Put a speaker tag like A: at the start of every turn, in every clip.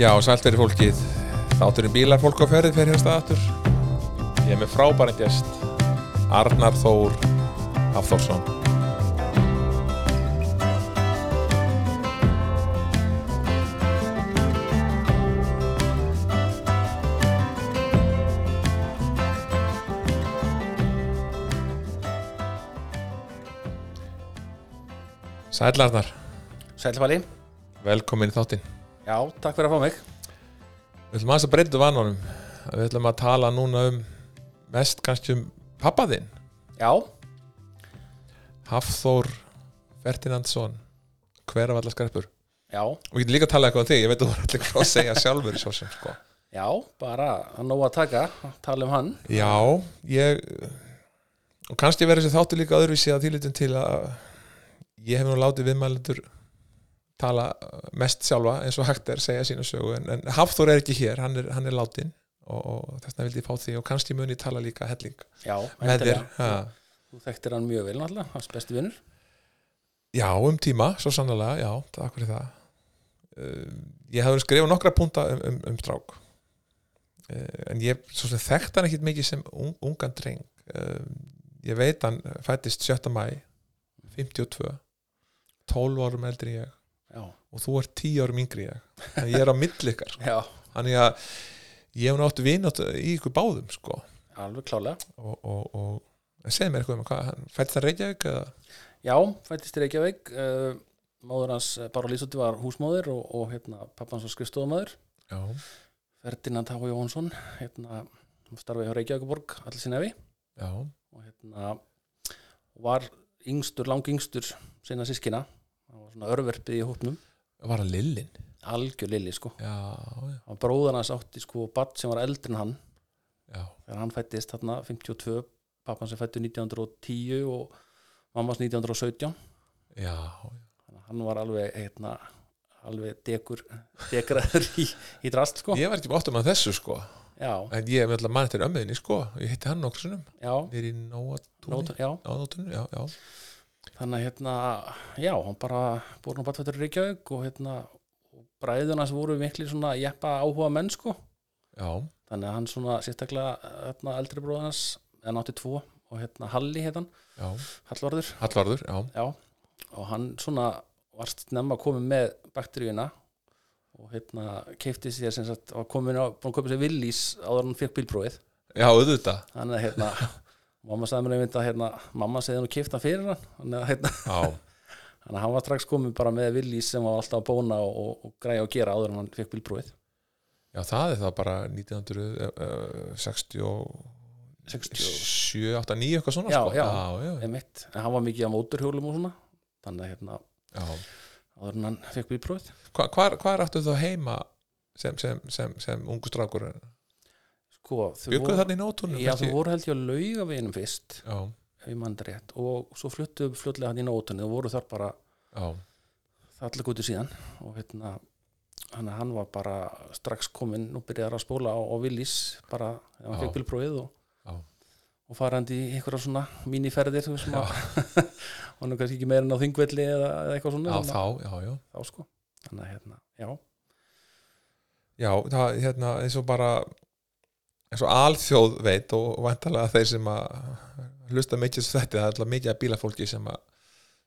A: Já, sælt verið fólkið. Þátturinn bílar fólk á ferðið fer hérna staðatur. Ég er með frábæran gest, Arnar Þór Hafþórsson. Sæll Arnar,
B: Sælfali,
A: velkomin í þáttinn.
B: já, takk fyrir að fá mig
A: Við ætlum aðeins að breyta vananum Við ætlum að tala núna um mest kannski um pappa þinn
B: Já,
A: Hafþór Ferdinandsson Hveravallarskarpur
B: já,
A: Og við getum líka að tala eitthvað um þig, ég veit að þú er allir hvað að segja sjálfur svo sem sko
B: já, bara að nóg að taka, tala um hann
A: Já, ég og kannski verður þessi þáttu líka öðruvísi að þýlitum til að ég hef nú látið viðmælendur tala mest sjálfa eins og hægt er segja sína sögu en, en Hafþór er ekki hér, hann er, hann er látin og, og þessna vildi ég fá því og kannski muni ég tala líka helling
B: Já,
A: með þér
B: endilega.
A: ha.
B: Þú þekktir hann mjög vel náttúrulega, hans besti vinnur
A: Já, um tíma, svo sannlega, já, takk fyrir það. Uh, ég hafði skrifað nokkra púnta um, um, um strák. Uh, en ég, svo sem þekkt hann ekkit mikið sem un, ungan dreng. Uh, ég veit hann fættist 7. mæ, 52, 12 árum eldri en ég
B: Já,
A: og þú ert 10 árum yngri en ég. Þannig að Ég er á milli ykkar. sko.
B: já,
A: Þannig að ég hef náttu vinnátt í ykkur báðum, sko.
B: alveg klálega
A: Og, og, og en segðu mér eitthvað um hvað, hann fættist það Reykjavík eða?
B: Já, fættist í Reykjavík uh, Móður hans, eh, Bára Lísutti var húsmóðir og, og hérna, pappans var skrifstofumóður
A: Já.
B: Ferdinand H. Jónsson, hérna, starfið hjá Reykjavíkuborg, allir sinni efi
A: Já,
B: og hérna var yngstur, lang yngstur sinna sískina, hann var svona örverpið í hópnum,
A: var hann Lillin?
B: algjör lilli sko
A: Já, já.
B: hann bróðan hans átti sko barn sem var eldri en hann
A: Já,
B: þegar hann fættist þarna 52 pappan sem fættu 1910 og mammas 1917
A: já,
B: þannig að hann var alveg heitna, alveg dekur dekraður í, í drast sko
A: Ég var ekki áttum að þessu sko
B: já,
A: En ég er alltaf mann eftir ömmuðinni sko Ég hitti hann nokkur sinnum
B: já,
A: Við í Nóatúni
B: nótun, já
A: Nóatúni, já, já
B: þannig að hérna, já, hann bara búin á barnfættur í Reykjavík og hérna bræðuna sem voru miklu svona jeppa áhuga menn sko
A: Já,
B: þannig að hann svona sérstaklega hérna, eldri bróðan hans, en átti tvo og hérna Halli heitan,
A: já
B: Hallvarður
A: Hallvarður, já
B: Já, og hann svona var snemma að koma með bakteríuna og hérna keipti sér sem sagt, var komin á, búin að koma sér villís áður en hann fekk bílprófið
A: Já, auðvitað
B: þannig að hérna, mamma sagði mér einmitt að hérna, mamma segði hann og keipta fyrir hann þannig að, hérna,
A: Já,
B: þannig að hann var strax komin bara með villís sem var alltaf að bóna og, og, og græja og gera áður en hann fekk bílprófið
A: já það er það bara eh, 1967,
B: 60
A: 8, 9 eitthvað svona
B: Já,
A: sko
B: já.
A: já, já,
B: einmitt, en hann var mikið á móturhjólum og svona þannig að hérna,
A: já.
B: áður en hann fekk bílprófið
A: Hva, hvar, hvar áttu þá heima sem, sem, sem, sem ungu strákur
B: sko, þau
A: Bygguðu
B: voru,
A: þarna í Nóatúni
B: já, þau voru held ég að lauga fyrst
A: já,
B: ef ég mandi rétt og svo fluttu flutlega hann í nótunni og voru þar bara
A: já,
B: allir gutu síðan og hérna hann, hann var bara strax kominn og byrjaði að spóla á, á Willys bara ef hann
A: Já.
B: fekk bílprófið og,
A: já,
B: og farandi í einhverja svona míniferðir þú veist sem
A: Já.
B: að hann er kannski ekki meira en á þingvelli eða, eða eitthvað svona
A: já,
B: þannig
A: þá, já, já
B: að- þá sko þannig að hérna, já,
A: Já, það, hérna, eins og bara eins og alþjóð veit og vantarlega þeir sem að hlusta mikið svo þetta, það er alltaf mikið að bílafólki sem að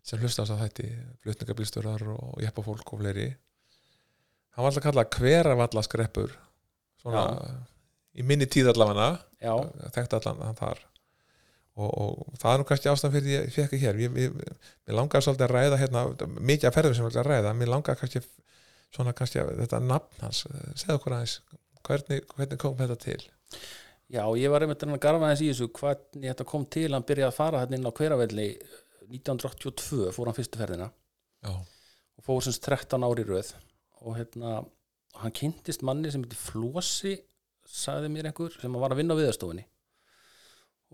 A: sem hlusta á þess að þetta flutningabílstörar og jeppafólk og fleiri hann var alltaf kallað hveravallaskreppur svona í minni tíð allafana
B: já,
A: þekkt allan hann þar og, og það er nú kannski ástæðan fyrir því ég fekk ekki hér ég, ég, mér langaði svolítið að ræða hérna mikið af ferðum sem ég ætla að ræða mér langaði kannski svona kannski að þetta nafn hans, eh, segðu okkur aðeins hvernig, hvernig kom þetta til
B: já, ég var einmitt að reyna að garfa hans í þessu hvernig þetta kom til hann byrjaði að fara hann inn á hveravelli eh, 1982 fór hann fyrstu ferðina
A: já,
B: og fór semst 13 ári röð og hérna, hann kynntist manni sem heitir Flosi sagði mér einhver, sem var að vinna á viðastofunni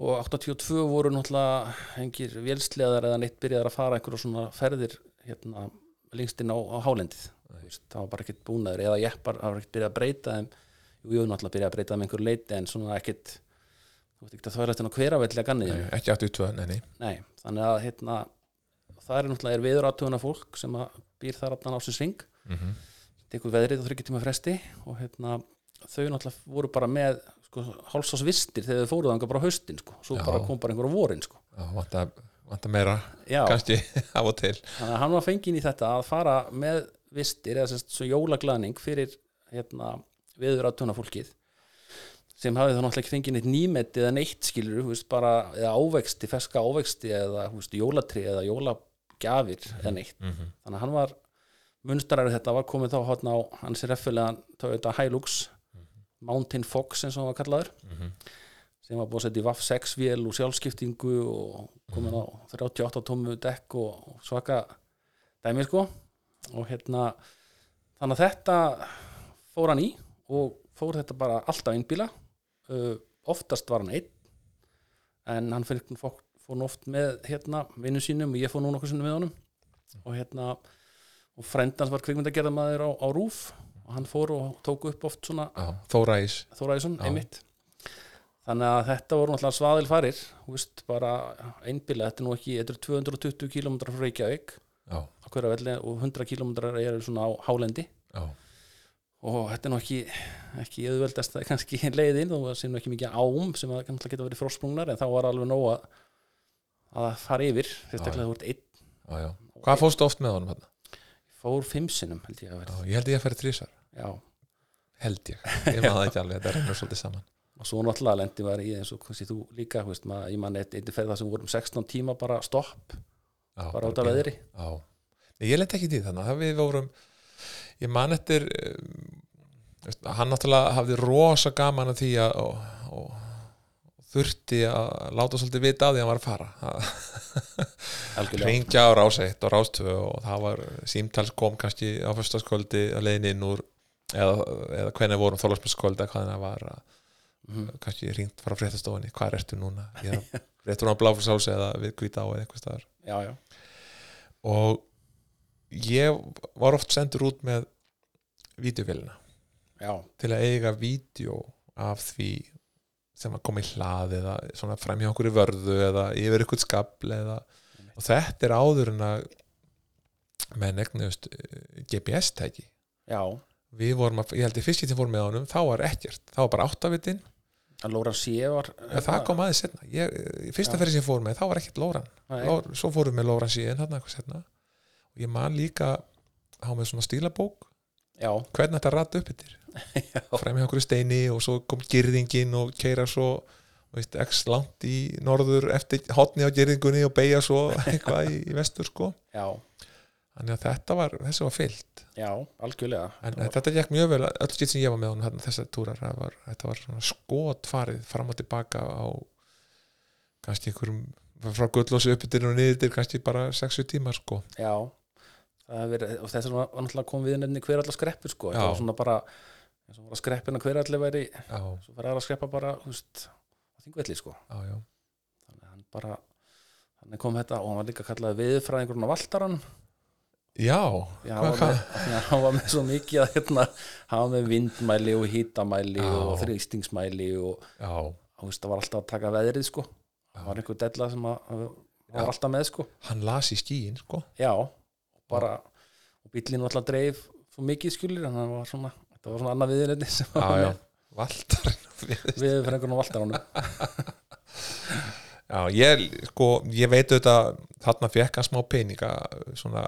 B: og 82 voru náttúrulega engir vélsleðar eða neitt byrjaðar að fara einhverja svona ferðir hérna, lengst inn á, á hálendið Þú veist, það var bara ekkert búnaður eða jeppar, það var ekkert byrjað að breyta þeim jú, jú, náttúrulega byrjað að breyta þeim einhver leiti en svona ekkert þú veist ekki að þvæla þetta hveravelli að ganni
A: nei, ekki 82, nei, nei
B: Nei, þannig að hérna, það er náttúrulega er viður aðtöðuna fólk sem að býr þar allan ásins ring
A: mm -hmm.
B: tekur veðrið og þryggja tíma fresti og hérna, þau náttúrulega voru bara með sko, hálsás vistir þegar þau fóruð þangað bara á haustin sko, svo
A: Já.
B: bara kom bara einhver á vorin sko.
A: Já, vanta, vanta meira,
B: Já,
A: kannski af og til
B: þannig að hann var fenginn í þetta að fara með vistir eða sérst svo jólaglaðning fyrir hérna, viður að fólkið sem hafði þá náttúrulega ekki fengið neitt nýmeti eða neitt skilur, þú veist, bara eða ávexti, ferska ávexti eða þú veist, jólatri eða jólagjafir eða neitt
A: mm -hmm.
B: þannig að hann var munstrarið þetta var komið þá hátna á hans reffilegan Toyota Hilux Mountain Fox eins og hann var kallaður
A: mhm.
B: sem var búið að setja í Vaff 6 vél og sjálfskiptingu og komin á 38 tómu dekk og og svaka dæmi sko og hérna þannig að þetta fór hann í og fór þetta bara alltaf innbíla uh, oftast var hann einn en hann fyrir fór fór oft með hérna vinnu sínum og ég fór nú nokkuð sinnum með honum og hérna og frendans var kvikmyndagerðamaður á, á Rúf og hann fór og tók upp oft svona
A: Já, Þóraís
B: Þóraðisson,
A: Já.
B: einmitt þannig að þetta voru náttúrulega svaðilfarir þú veist, bara einbíla, þetta er nú ekki þetta er 220 km frá Reykjavík
A: Já,
B: á hverja velli og 100 km eru svona á hálendi
A: já,
B: og þetta er nú ekki ekki auðveldast það kannski leiðin þó að sé nú ekki mikið ám sem að kannski geta verið frósprungnar en þá var alveg nóg að að fara yfir, sérstaklega þú ert einn
A: já, já Hvað fórstu oft með honum þarna?
B: fór fimm sinnum held ég
A: Já,
B: að verið,
A: ég held ég að færi þrísar
B: já
A: Held ég, ég maður það ekki alveg, þetta rennur svolítið saman
B: og svo náttúrulega lendi maður í eins og kannski þú líka, þú veist, maður, ég man eitt, eitt ferð það sem vorum 16 tíma bara stopp
A: já,
B: bara út af
A: bíða.
B: veðri
A: Já, Nei, ég lendi ekki í því þannig að við vorum Ég man eftir um, veist, Hann náttúrulega hafði rosa gaman af því að og, og, þurfti að láta svolítið vita af því að hann var að fara að
B: algjörlega,
A: ringja á rás 1 og rás 2 og það var símtals kom kannski á fyrstaskvöldi að leiðin inn úr eða, eða hvernig vorum þólasmesskvöldi að hvað það var að, kannski ringt frá fréttastofunni, hvað ertu núna ég er að- réttur á bláfursáls eða við hvita á eða eitthvað staðar
B: já, já,
A: og ég var oft sendur út með vídeovélina
B: já
A: til að eiga vídeo af því sem að koma í hlað eða svona framhjá okkur í vörðu eða yfir ykkur skabl eða og þetta er áður en að menn eh, egnuðust GPS-tæki
B: já,
A: við vorum að, ég held ég fyrst getið fórum með honum þá var ekkert, þá var bara áttavitin
B: að Lóra sé var
A: en það kom aðeins setna, ég, í fyrsta
B: Já.
A: ferri sem ég fór með þá var ekkert lóran,
B: Nei,
A: Lór, svo fórum við með lóran síðan þarna eitthvað setna og ég man líka á með svona stílabók
B: já,
A: hvernig þetta rætt upp yttir fræmi okkur í steini og svo kom gyrðingin og keira svo veist, x langt í norður eftir hotni á gyrðingunni og beigja svo eitthvað í, í vestur sko
B: já,
A: þannig að þetta var, þessi var fyllt
B: já, algjörlega
A: en
B: Það var-
A: þetta gekk mjög vel, öll skitt sem ég var með honum þarna, þessar túrar, það var, þetta var svona skotfarið fram og tilbaka á kannski einhverjum frá gullósi uppbyttir og niður til kannski bara 60 tímar sko
B: já það hefur verið, og þess að var var náttúrulega kom við nefni hver allar skreppur sko,
A: Já.
B: það var svona bara eins og var skreppin að hver allar væri
A: já,
B: svo var aðra skreppa bara, þú veist á þingvelli sko,
A: já, já,
B: þannig að hann bara þannig kom þetta og hann var líka kallaði viðfræðingurinn á Valdaran
A: já,
B: Já, hann var
A: Hvað-
B: með- af því að hann var með svo mikið að hérna, hann var með vindmæli og hítamæli
A: Já.
B: og þrýstingsmæli og
A: já,
B: þú veist, það var alltaf að taka veðrið sko það var einhver della sem að, að
A: Já.
B: var alltaf með sko,
A: hann las í skíin sko
B: já bara, og bíllinn var alltaf dreif svo mikið skjulir, þannig að það var svona þetta var svona annað viðinni sem
A: já,
B: var
A: já, valdar
B: með við fyrir einhvern valtar honum
A: Já, ég, sko, ég veit auðvitað þarna fekk hann smá peninga svona,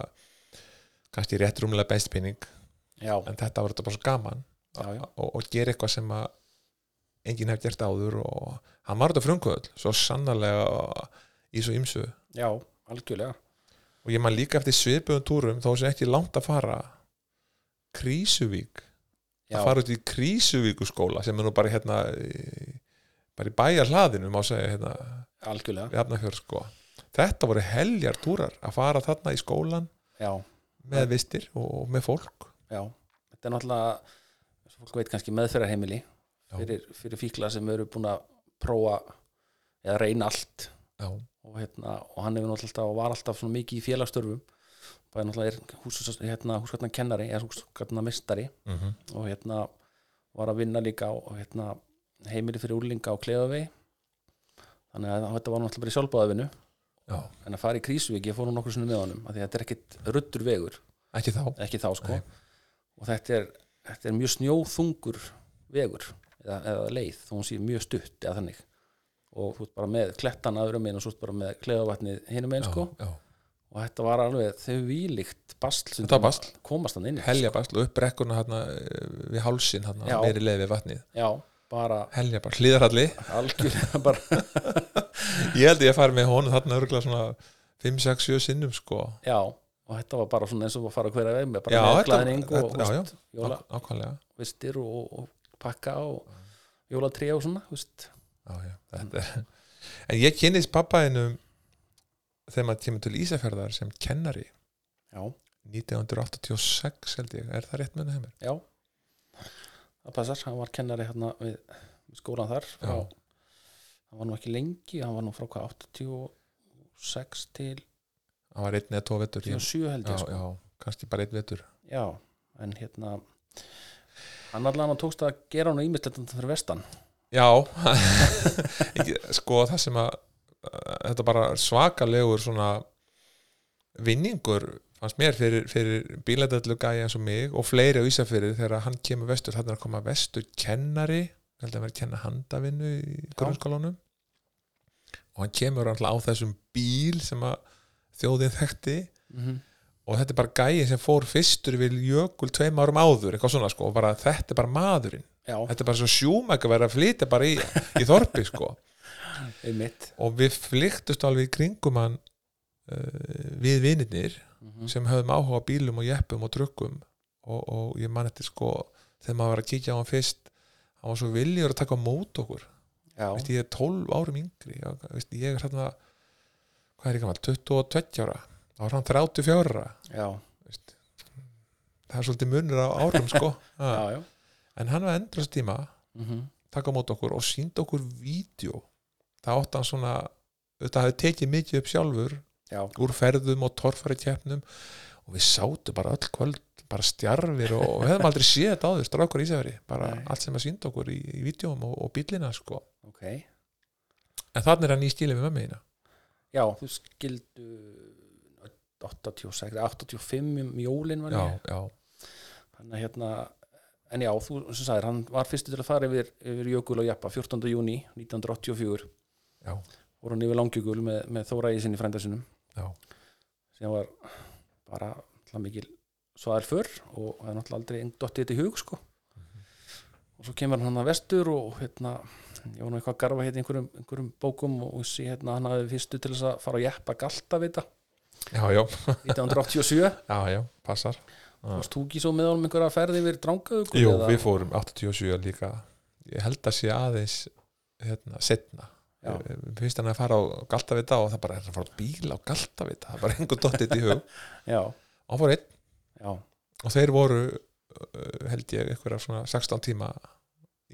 A: kannski rétt rúmlega best pening,
B: já,
A: en þetta var þetta bara svo gaman
B: já, já,
A: og, og gera eitthvað sem að enginn hef gert áður og hann var þetta frumkvöld, svo sannarlega í svo ymsu og
B: já, algjörlega
A: ég man líka eftir svipuðum túrum þó sem ekki langt að fara Krísuvík
B: já,
A: að fara út í Krísuvíkuskóla sem er nú bara hérna í- bara í bæjar hlaðinu, má segja hérna
B: algjörlega,
A: við Hafnarfjörð sko þetta voru heljar túrar að fara þarna í skólan
B: já,
A: með vistir og með fólk
B: já þetta er náttúrulega, eins og fólk veit kannski meðferðarheimili
A: Já.
B: fyrir, fyrir fíkla sem eru búin að prófa eða reyna allt
A: já,
B: og, hérna, og hann hefur náttúrulega alltaf og var alltaf svona mikið í félagsstörfum bara náttúrulega er hús, hérna, húskarnar kennari eða húskarnar mistari
A: mm -hmm.
B: og hérna var að vinna líka á á, hérna, heimili fyrir úrlinga á Kleðavegi þannig að þetta var náttúrulega bara í sjálfbáðavinu
A: já.
B: en að fara í Krísuvík, ég fór nú nokkur sinni með honum af því að þetta er ekkit ruddur vegur
A: ekki þá
B: ekki þá sko
A: Nei.
B: og þetta er, þetta er mjög snjóþungur vegur eða, eða leið þó hún sé mjög stutt eða þannig og þú ert bara með klettan aðurum einn og svo ert bara með kleðavatnið hinum einn sko
A: já.
B: og þetta var alveg þau vílíkt basl sem
A: Þetta var basl.
B: komast hann inn í
A: helja basl og upp brekkuna hérna við hálsin hérna,
B: Já.
A: meiri leið við vatnið
B: já, bara
A: helja basl, hlýðaralli
B: algjörlega bara
A: ég held ég að fara með honum þarna örgulega svona 5, 6, 7 sinnum sko
B: já, og þetta var bara svona eins og að fara hverja veginn með
A: Já,
B: bara með
A: þetta-
B: glæðning og
A: þetta- já, já.
B: veist, jóla,
A: Ák- ákvæmlega
B: vistir og, og pakka og jólatrí og svona veist.
A: já, já, þetta er en ég kynnist pappaðinum þegar maður kemur til Ísafjörðar sem kennari
B: já,
A: 1986 held ég, er það rétt með það mér?
B: já það passar, hann var kennari hérna við við skólan þar frá,
A: Já.
B: hann var nú ekki lengi, hann var nú frá hvað 86 til
A: hann var einn eða tó vettur ég,
B: 87 held
A: já,
B: ég sko.
A: já, kannski bara einn vettur
B: Já, en hérna hann allan að tókst að gera hann ímislegt fyrir vestan
A: já Ekki, sko það sem að að þetta bara svakalegur svona vinningur fannst mér fyrir, fyrir bílætallu gæja eins og mig og fleiri á Ísafjörði þegar hann kemur vestur, þannig er að koma vestur kennari, ég held að vera að kenna handavinnu í grunnskólanum og hann kemur alltaf á þessum bíl sem að þjóðin þekkti
B: mm -hmm.
A: og þetta er bara gæi sem fór fyrstur við jökul tveim árum áður, eitthvað svona sko og bara, þetta er bara maðurinn,
B: Já,
A: þetta er bara svo sjúmæk að vera að flytja bara í, í þorpi sko
B: einmitt
A: og við flyktust alveg í kringum hann uh, við vinirnir
B: mm
A: sem höfðum áhuga á bílum og jeppum og trukkum og, og ég man þetta sko þegar maður var að kíkja á hann fyrst hann var svo viljur að taka á mót okkur
B: Já,
A: Vist, ég er 12 árum yngri ég, veist, ég er hérna hvað er ég gammal, 22 ára þá var hann 34 ára
B: já,
A: veist, það er svolítið munur á árum sko Ha.
B: já, já
A: en hann var endrast tíma
B: mm
A: taka á mót okkur og síndi okkur vídeo það átti hann svona þetta hafði tekið mikið upp sjálfur
B: Já,
A: úr ferðum og torfæri keppnum og við sátu bara öll kvöld bara stjarfir og, og við hefðum aldrei séð þetta áður strákur ísafri, bara
B: Nei.
A: allt sem að síndi okkur í, í vídjóum og, og bílina sko
B: ok
A: en þannig er hann í stíli við mömmu hérna
B: Já, þú skildu 86, 85 um jólin var
A: já,
B: ég
A: já,
B: Þannig að hérna En já, þú sem sagðir, hann var fyrstu til að fara yfir, yfir Jökul og Jappa 14. júni 1984
A: Já.
B: Voru hann yfir Langjökul með, með Þóra í sinni frændasinum
A: já,
B: sem var bara náttúrulega mikil svaðar fyrr og það er náttúrulega aldrei einn dotti þetta í hug sko. og svo kemur hann að vestur og hérna, ég var nú eitthvað að garfa hérna í einhverjum, einhverjum bókum og ég sé hérna að hann hafi fyrstu til þess að fara að jeppa galta við þetta,
A: já, já,
B: 1987
A: já, já passar
B: og stúki svo með honum einhverja ferði yfir drangaug
A: Jú, við fórum 87 líka ég held að sé aðeins hérna, setna
B: Já.
A: finnst Eh, hann að fara á Galtavita og það bara er að fara á bíl á Galtavita það var engu dottið í hug
B: já,
A: og hann fór einn
B: já,
A: og þeir voru uh, held ég einhverja svona 16 tíma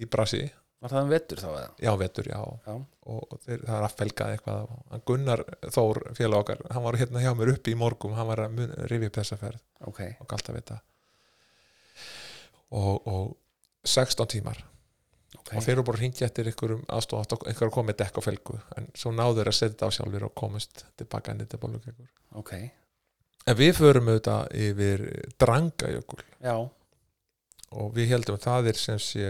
A: í Brasi,
B: var það um vettur þá eða
A: já vetur já,
B: Já.
A: og og þeir, það er að felga eitthvað og hann Gunnar Þór félag okkar hann var hérna hjá mér uppi í morgum hann var að mun- rifja upp þessa ferð
B: ok,
A: á Galtavita og, og 16 tímar
B: ok,
A: og þeir eru bara að hringja eftir einhverjum aðstof einhverjum að koma með dekk og felgu en svo náður þeir að setja þetta á sjálfur og komast tilbaka inn þetta bólugegur
B: ok
A: en við förum auðvitað yfir Drangajökul
B: já,
A: og við heldum að það er sem sé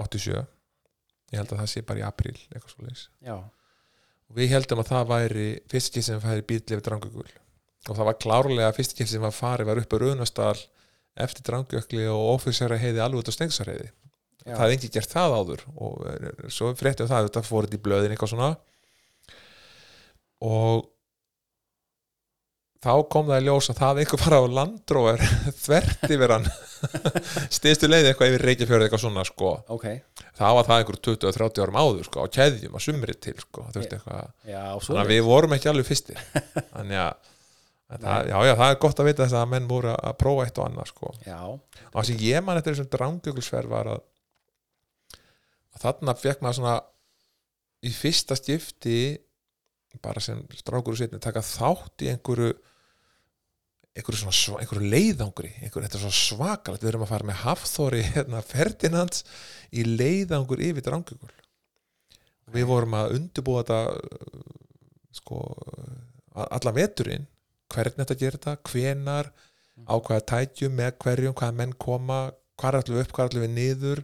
A: 87 ég held að það sé bara í apríl eitthvað svo
B: já,
A: og við heldum að það væri fyrst kýr sem færi bíl yfir Drangajökul og það var klárlega fyrst kýr sem var farið var upp á Runastal eftir Drangjökli og ofisera heiði alveg út á Stengsarheiði
B: já,
A: það hefði ekki gert það áður og eh, svo fréttum það, þetta fór þetta í blöðin eitthvað svona og þá kom það í ljós að það einhver bara á landróver þvert yfir hann stýstu leið eitthvað yfir reykjafjörð eitthvað svona sko,
B: ok
A: það var það einhver 20-30 árum áður sko, á keðjum, á sumri til sko, þú veist eitthvað,
B: já,
A: þannig
B: svo
A: að við vorum ekki alveg fyrstir, þannig að en Það, já, já, það er gott að vita þess að menn voru að prófa eitt og annað sko
B: já,
A: og það sem ég man eftir þessum drangjökulsferð var að, að þarna fekk maður svona í fyrsta skipti bara sem strákur og setni taka þátt í einhverju einhverju, svona, sva- einhverju leiðangri einhverju, þetta er svo svakalegt, við erum að fara með hafþóri hérna, Ferdinands í leiðangur yfir drangjökul við vorum að undubúa þetta uh, sko uh, a- allan veturinn hvernig þetta gerir þetta, hvenar á hvaða tækjum, með hverjum, hvaða menn koma hvar ætlum við upp, hvar ætlum við niður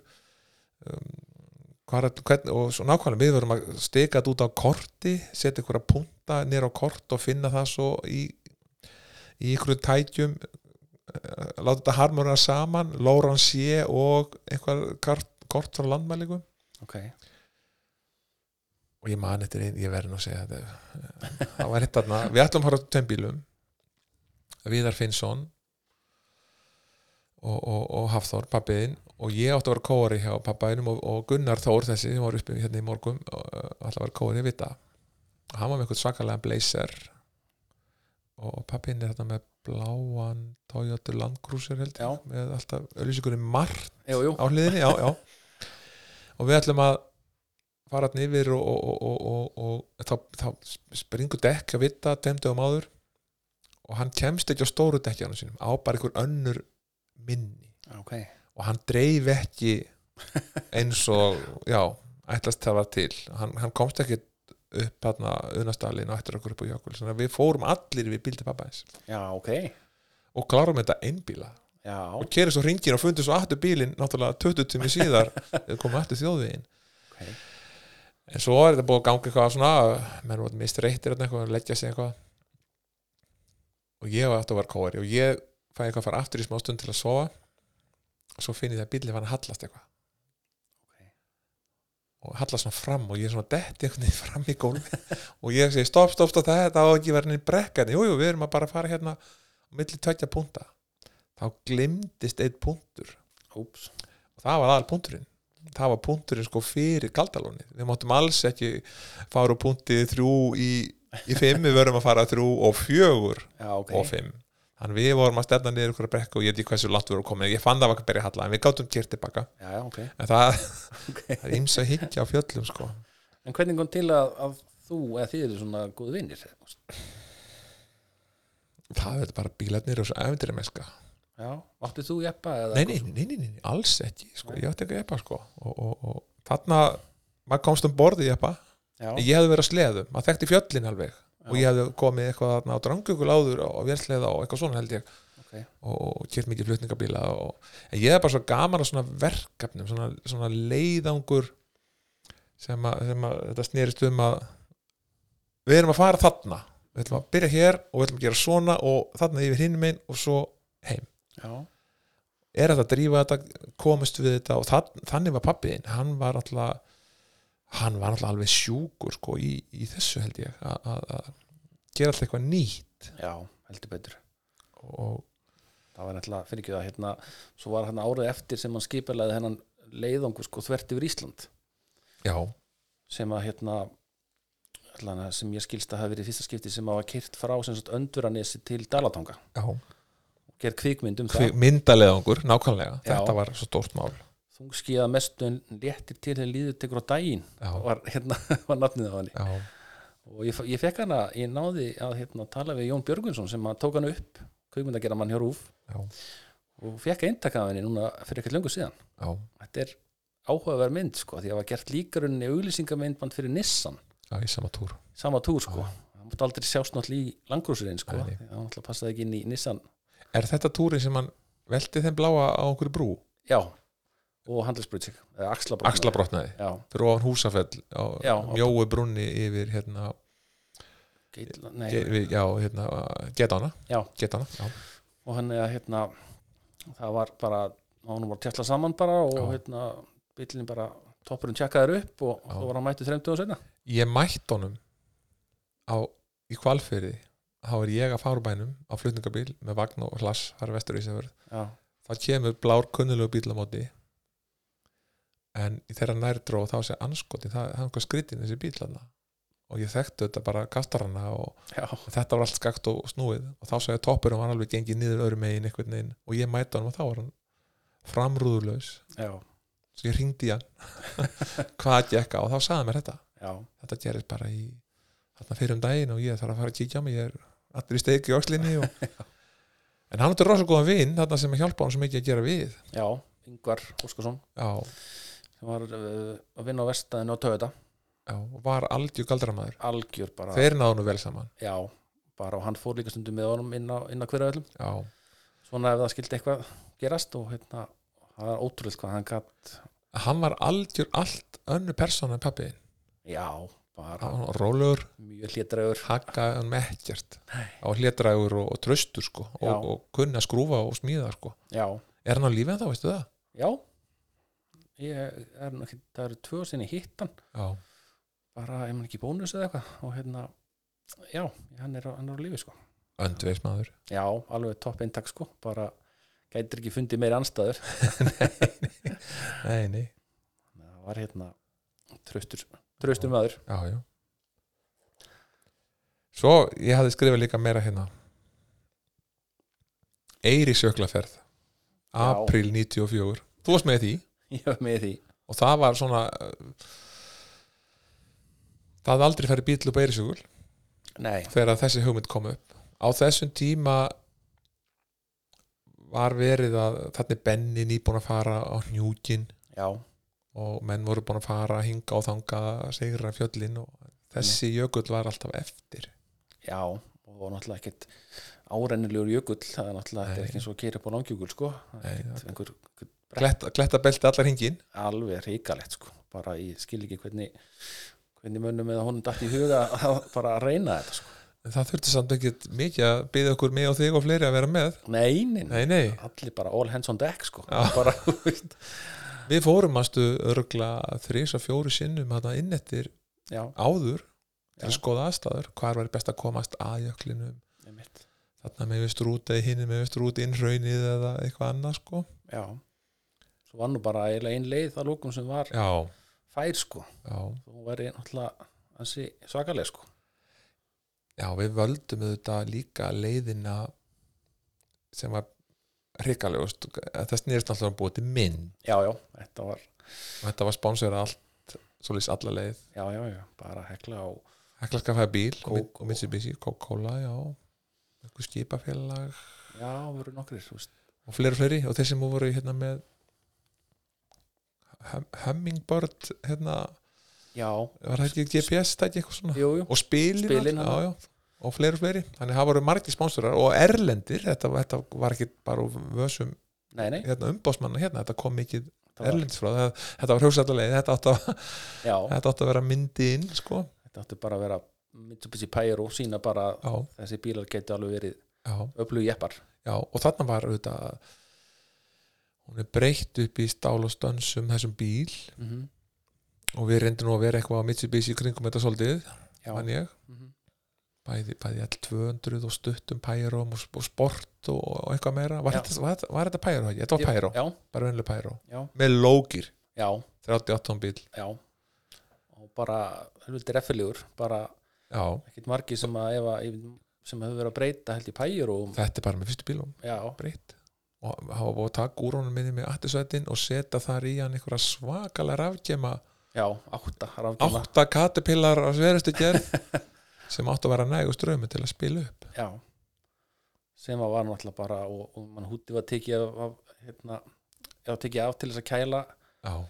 A: um, hvar ætlum hvern, og svo nákvæmlega, við verum að stika þetta út á korti, setja ykkur að punta nýr á kort og finna það svo í, í ykkur tækjum eh, láta þetta harmonera saman Lóran sé og einhver kort, kort frá landmælingum
B: ok,
A: og ég man eftir einn, ég verði nú að segja þetta það var hitt þarna, við ætlum að horfa á tveim bílum Viðar Finnsson og, og, og Hafþór, pappiðinn og ég átti að vera kóari hjá pappaðinum og, og Gunnar Þór þessi sem var uppi hérna í morgum og uh, ætlaði að vera kóari við það og hann var með einhvern svakalega blazer og, og pappiðinn er þetta með bláan Toyota Land Cruiser held
B: Já.
A: ég, með alltaf öllusingunni margt
B: jú, jú,
A: á hliðinni, já, já og við ætlum að fara hann yfir og, og, og, og, og, og þá, þá springur dekk að vita temdögum áður og hann kemst ekki á stóru dekkjanum sínum á bara einhver önnur minni
B: ok
A: og hann dreif ekki eins og, já, ætlast það var til hann, hann komst ekki upp hann að unastaflinu og ættir okkur upp á jökul þannig að við fórum allir við bíldi pappaðins
B: já, ok,
A: og klárum þetta einbíla
B: já
A: og kerið svo ringin og fundið svo aftur bílinn náttúrulega 20 tími síðar þegar komið aftur þjóðvegin
B: ok,
A: en svo er þetta búið að ganga eitthvað svona menn voru mistreittir þarna eitthvað leggja sig eitthvað og ég var aftur að vera kóari og ég fæði eitthvað að fara aftur í smá stund til að sofa og svo finn ég það að bílinn var að hallast eitthvað
B: Ok.
A: og hallast svona fram og ég er svona detti einhvern veginn fram í gólfi og ég segi stopp, stopp, stopp, þetta á ekki verið neinn brekka hérna." jú, jú, við erum að bara fara hérna á milli tveggja punta þá glimtist einn punktur
B: úps
A: og það var aðal punkturinn það var punkturinn sko fyrir kaldalóni við máttum alls ekki fara úr punktið þrjú í, í fimm við verðum að fara þrjú og fjögur
B: já, ok,
A: og fimm þannig við vorum að stefna niður ykkur að brekka og ég veit ekki hversu langt við vorum komin ég fann það var ekki að berja halla en við gátum kert tilbaka
B: já, já, ok,
A: en það,
B: ok
A: það er ímsa higgja á fjöllum sko
B: En hvernig kom til að, að þú eða þið eru svona góð vinnir?
A: það er bara bílarnir og svo efndir með sko
B: Já, áttið þú jeppa? Eða
A: nei, nei, nei, nei, nei, nei, alls ekki sko. ég átti ekki að jeppa sko og, og, og þarna, maður komst um borðið jeppa
B: Já,
A: ég hefði verið að sleðum, maður þekkti fjöllin alveg og ég hefði komið eitthvað þarna á drangjökul áður og vélsleða og eitthvað svona held ég
B: ok,
A: og, og kert mikið flutningabíla og, en ég er bara svo gaman að svona verkefnum svona, svona leiðangur sem að, sem að þetta snerist um að við erum að fara þarna við ætlum að byrja hér og við ætlum að gera svona og þarna yfir hinn minn og svo
B: já,
A: er þetta að drífa þetta, komist við þetta og þann, þannig var pappiðinn, hann var alltaf hann var alltaf alveg sjúkur sko í, í þessu held ég að- að að gera alltaf eitthvað nýtt
B: já, heldur betur.
A: og
B: Það var náttúrulega, fyrir ekki það, hérna, svo var hérna árið eftir sem hann skipalæði hennan leiðangur sko þvert yfir Ísland
A: já,
B: sem að hérna, allan að sem ég skilst að hafa verið í fyrsta skipti sem að var kyrt frá sem sagt önduranesi til Dalatanga
A: já
B: og gerð kvikmynd um
A: Hvi-
B: það.
A: myndaleðangur, nákvæmlega,
B: Já.
A: þetta var svo stórt mál
B: Þungskiða mestu en léttir til þegar líður tekur á daginn
A: já,
B: var hérna, var nafnið á henni.
A: já,
B: og ég, ég fekk hana, ég náði að hérna, tala við Jón Björgunsson sem að tók hana upp kvikmyndagera mann hjá Rúf
A: já,
B: og fekk eintaka af henni núna fyrir ekkert löngu síðan
A: já,
B: þetta er áhugaverð mynd sko því að var gert líkarunni auglýsingamyndband fyrir Nissan
A: já í sama túr
B: sama túr sko, það mátti aldrei sjást náttúrulega í langrúsurinn sko,
A: Nei, nei.
B: því að hann alltaf passaði ekki inn í Nissan
A: er þetta túrin sem hann velti þeim bláa á einhverju brú,
B: já, og handelsbrutsik eða axlabrotna
A: axlabrotnaði
B: já,
A: fyrir ofan húsafell á
B: Já.
A: mjóu brunni yfir hérna,
B: geitla, nei,
A: ge- við- já, hérna getana,
B: Já.
A: getana já.
B: og hann eða hérna það var bara, hann var tjalla saman bara og
A: Já.
B: hérna bílinn bara toppurinn tjekkaður upp og
A: Já.
B: svo var hann mættu 30 og senna
A: ég mætt honum á, í kvalfyrði þá er ég að fara úr bænum á flutningabíl með vagn og hlass, það er vestur í Ísafjörð
B: já,
A: þá kemur blár kunnulegu bíl á móti en í þeirra nærdró þá sé anskoti, það það er einhver skritin þessi bíl hana og ég þekktu þetta bara kastarana og
B: já,
A: þetta var allt skakt og snúið og þá sagði toppurinn var alveg gengið niður öðru megin einhvern veginn og ég mætti honum og þá var hann framrúðulaus
B: já,
A: svo ég ringdi í hann hvað gekk á og þá sagði hann mér þetta
B: já,
A: þetta gerist bara í þarna fyrir um daginn og ég þarf að fara að kíkja á mig ég er allir í steik í öxlinni og... en hann átti rosa góðan vinn þarna sem hjálpa hann svo mikið að gera við
B: já Ingvar Óskarsson
A: já,
B: sem var uh, að vinna á vestæðinu á Töða
A: já, og var algjör galdramæður
B: algjör bara,
A: þeir náðu nú vel saman
B: já bara og hann fór líka stundum með honum inn á, inn á hverja öllum
A: já,
B: svona ef það skildi eitthvað gerast og hérna, það er ótrúlega hvað hann gatt
A: hann var algjör allt önnu persóna en pappi þinn.
B: já, bara
A: hann var rólegur,
B: mjög hlétræður
A: hakaði hann með ekkert á hlétrægur og, og tröstur sko
B: Já.
A: og, og kunni að skrúfa og smíða sko
B: já,
A: er hann á lífið þá, veistu það?
B: já ég er nú ekki, það eru tvö sinni hittan
A: Já,
B: bara, ég man ekki bónus eða eitthvað og hérna, já, hann er, á- hann er á lífi sko
A: öndveismadur
B: já, alveg topp eintak sko bara, gætir ekki fundið meiri anstæður
A: nei, nei,
B: það var hérna tröstur, tröstur maður
A: já, já svo ég hafði skrifað líka meira hérna Eiri sjöklaferð april 94 þú varst með í því
B: ég var með í því,
A: og það var svona uh, það hafði aldrei færi bíl upp á Eirisjökul
B: nei
A: þegar þessi hugmynd kom upp á þessum tíma var verið að þarna er Benni nýbúin að fara á hnjúkin
B: já,
A: og menn voru búin að fara að hinga og þanga sigra fjöllin og þessi jökull var alltaf eftir
B: já, og náttúrulega ekkert árennilegur jökull, það er náttúrulega þetta
A: Nei.
B: er ekki eins og að keira upp á langjökull sko Það er
A: Nei,
B: ekkert
A: það-
B: einhver, einhver
A: Kletta, kletta belti allar hingin
B: alveg reikalegt sko bara ég skil ekki hvernig hvernig mönnum eða honum datt í huga að bara að reyna þetta sko
A: en það þurfti samt ekki mikið að byggja okkur mig og þig og fleiri að vera með
B: nei, nei, nei,
A: nei, nei,
B: allir bara all hands on deck sko
A: Já.
B: bara, þú veist,
A: við fórum aðstu örgla þrís og fjóru sinnum þarna inn eftir
B: já,
A: áður til
B: Já.
A: að skoða aðstæður, hvar var best að komast að jöklinum,
B: einmitt
A: þarna með við strúti hinn með við strúti innraunið eða eitthvað annað sko
B: já, svo var nú bara eiginlega ein leið að lókum sem var
A: já,
B: fær sko
A: já,
B: þú væri náttúrulega ansi svakaleg sko
A: já, við völdum auðvitað líka leiðina sem var hrikalegust það snýrist alltaf að búið til minn
B: já, já, þetta var,
A: og þetta var spánsverið allt svolítið alla leið,
B: já, já, já bara hekla á
A: hekla skaffaði bíl og,
B: Kók-
A: og Mitsubishi, Coca-Cola, já eitthvað skipafélag
B: já, voru nokkrir, þú veist
A: og fleiri og fleiri og þeir sem voru hérna með hum- Hummingbird hérna
B: já,
A: var það ekki GPS tæki eitthvað svona
B: jú, jú,
A: og spilin,
B: Spilin,
A: all, já,
B: hann.
A: já, og fleiri og fleiri þannig það voru margir sponsorar og erlendir þetta, þetta var ekki bara úr vössum
B: nei, nei
A: hérna, umbásmanna hérna, þetta kom mikið
B: þetta var-
A: erlendis frá það, þetta var hugsallalegi þetta, átti að-
B: já,
A: þetta átti að vera myndi inn sko.
B: þetta átti bara að vera Mitsubishi Pyro sína bara að
A: já,
B: þessi bílar geti alveg verið
A: já,
B: öflug jeppar
A: já, og þarna var auðvitað hún er breytt upp í stál og stönsum þessum bíl
B: mm -hmm.
A: og við reyndum nú að vera eitthvað á Mitsubishi í kringum þetta svolítið,
B: já,
A: mann ég
B: Mhm.
A: bæði, bæði L200 og stuttum Pyrom og, og sport og, og eitthvað meira var
B: Já.
A: þetta, var, þetta- var þetta Pyro? ekki? Þetta var
B: Jú,
A: Pyro,
B: já,
A: bara venlega Pyro
B: já,
A: með lógir,
B: já,
A: 38 tonn bíl
B: já og bara helviti reffilegur bara
A: já,
B: ekkert margi sem að ef að sem hefur verið að breyta held í Pyro
A: þetta er bara með fyrstu bílum
B: já,
A: breytt og hafa búið að taka úr honum minni með aftisvættin og setja þar í hann einhverja svakalega rafgema
B: já, átta rafgema
A: átta katapillar á sverustu gerð sem áttu að vera nægu strömi til að spila upp
B: já sem að var náttúrulega bara og, og mann húti var tekið af, af hérna, já, tekið af til þess að kæla
A: já,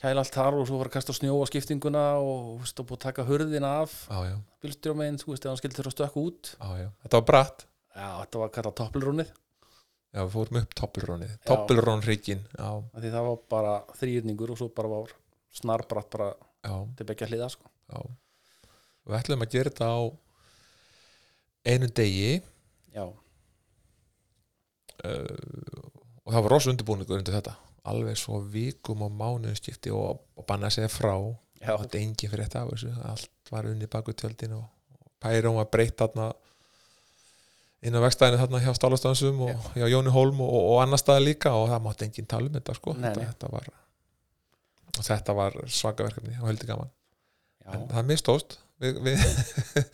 B: kæla allt þar og svo var að kasta snjó á skiptinguna og, þú veist, og búið að taka hurðina af
A: já, já,
B: bílstjóramegin, þú veist, ef hann skildi þurfa að stökka út
A: já, já. þetta var bratt
B: já, þetta var kallað toppelrúnið
A: já, við fórum upp toppelrónið, toppelrónrygin já,
B: af því það var bara þrýrningur og svo bara var snarbrætt bara
A: já,
B: til begja hliða sko.
A: já við ætlum að gera þetta á einu degi
B: já,
A: uh, og það var rosa undirbúningur undir þetta alveg svo vikum og mánuðum skipti og, og banna að segja frá og
B: já,
A: þetta er engin fyrir þetta af þessu allt var unni baku tjöldin og, og pærum var breytt þarna inn á vegstæðinu þarna hjá Stálastansum og hjá Jóni Holm og, og annar staðar líka og það mátti engin tala um þetta sko
B: Nei,
A: þetta,
B: nei.
A: þetta var og þetta var svaka verkefni og heldur gaman
B: já.
A: en það mistóst við, við,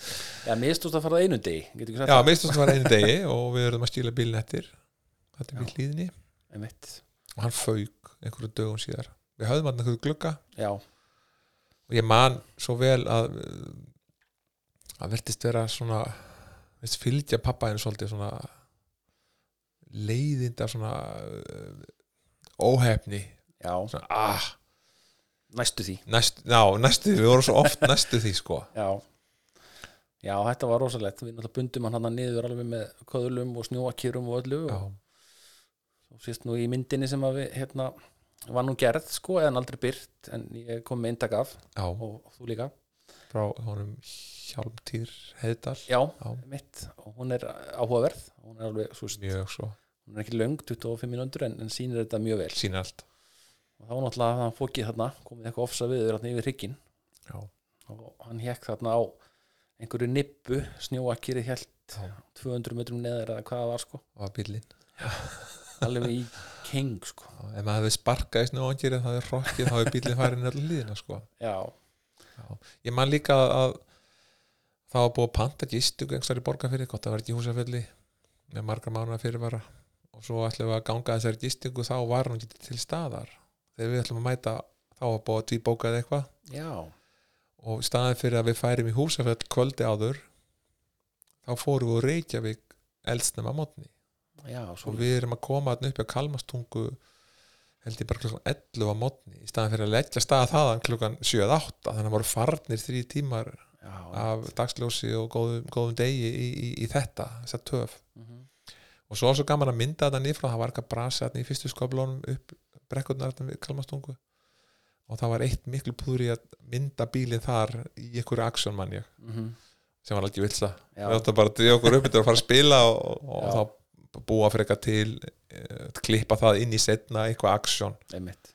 B: já mistúst að fara það einu degi getur ekki sagt
A: já,
B: það,
A: mistóst var einu degi og við verðum að stíla bílinn eftir þetta er
B: Já.
A: við hlýðinni
B: einmitt
A: og hann fauk einhverju dögum síðar við höfðum hann einhverju glugga
B: já,
A: og ég man svo vel að að verðist vera svona veist, fylgja pappa henni svolítið svona leiðinda svona uh, óhefni
B: já,
A: svona, ah,
B: næstu því
A: næst, ná, næstu því, við vorum svo oft næstu því sko
B: já Já, þetta var rosalegt, við náttúrulega bundum hann hann niður alveg með köðlum og snjóakýrum og öllu
A: já,
B: og, svo sést nú í myndinni sem að við hérna, var nú gerð sko eða hann aldrei byrt en ég kom með eintak af
A: já,
B: og þú líka
A: frá honum Hjálmtýr Heiðdal
B: já,
A: Já.
B: mitt og hún er áhugaverð hún er alveg, svo, veist,
A: mjög svo,
B: hún er ekki löng 25 mínútur en, en sýnir þetta mjög vel
A: sína allt
B: og þá var náttúrulega hann fókið þarna komið eitthvað ofsa viður þarna yfir hrygginn
A: já,
B: og hann hekk þarna á einhverju nippu snjóakýri hjælt
A: Já.
B: 200 metrum neðar eða hvað það var sko
A: og að bíllinn
B: alveg í king sko
A: Já, ef maður hefði sparkað í snjóangirinn það er rokkið, þá er bíllinn farin allir líðina sko.
B: já,
A: ég man líka að það var búið að panta gistu gengstar í borgarfyrir, gott það var ekki í húsafelli með margra mánuða fyrirvara og svo ætlum við að ganga þessari gistingu þá var hún ekki til staðar þegar við ætlum að mæta þá var búið að tvíbókað eitthvað
B: já,
A: og í staðin fyrir að við færim í húsafell kvöldi áður þá fórum við úr Reykjavík eldsnum að mótni
B: já svo,
A: og við erum að koma þarna upp hjá Kalmastungu held ég bara klukkan 11 að mótni í staðin fyrir að leggja stað þaðan klukkan 7-8 þannig að voru farnir þrý tímar
B: já,
A: af dagsljósi og góðum, góðum degi í, í, í þetta, þessa töf
B: mhm,
A: og svo var svo gaman að mynda þetta nýfrá það var eitthvað brasi þarna í fyrstu skoblónum upp brekkurnar þarna við Kalmastungu og það var eitt miklu púður í að mynda bílinn þar í einhverju aksjón mann ég,
B: mhm,
A: sem var alveg vilsa
B: já,
A: við áttum bara að dríða okkur upp þetta að fara að spila og, og
B: Já.
A: þá búa fyrir eitthvað til eh, klippa það inn í setna eitthvað aksjón
B: einmitt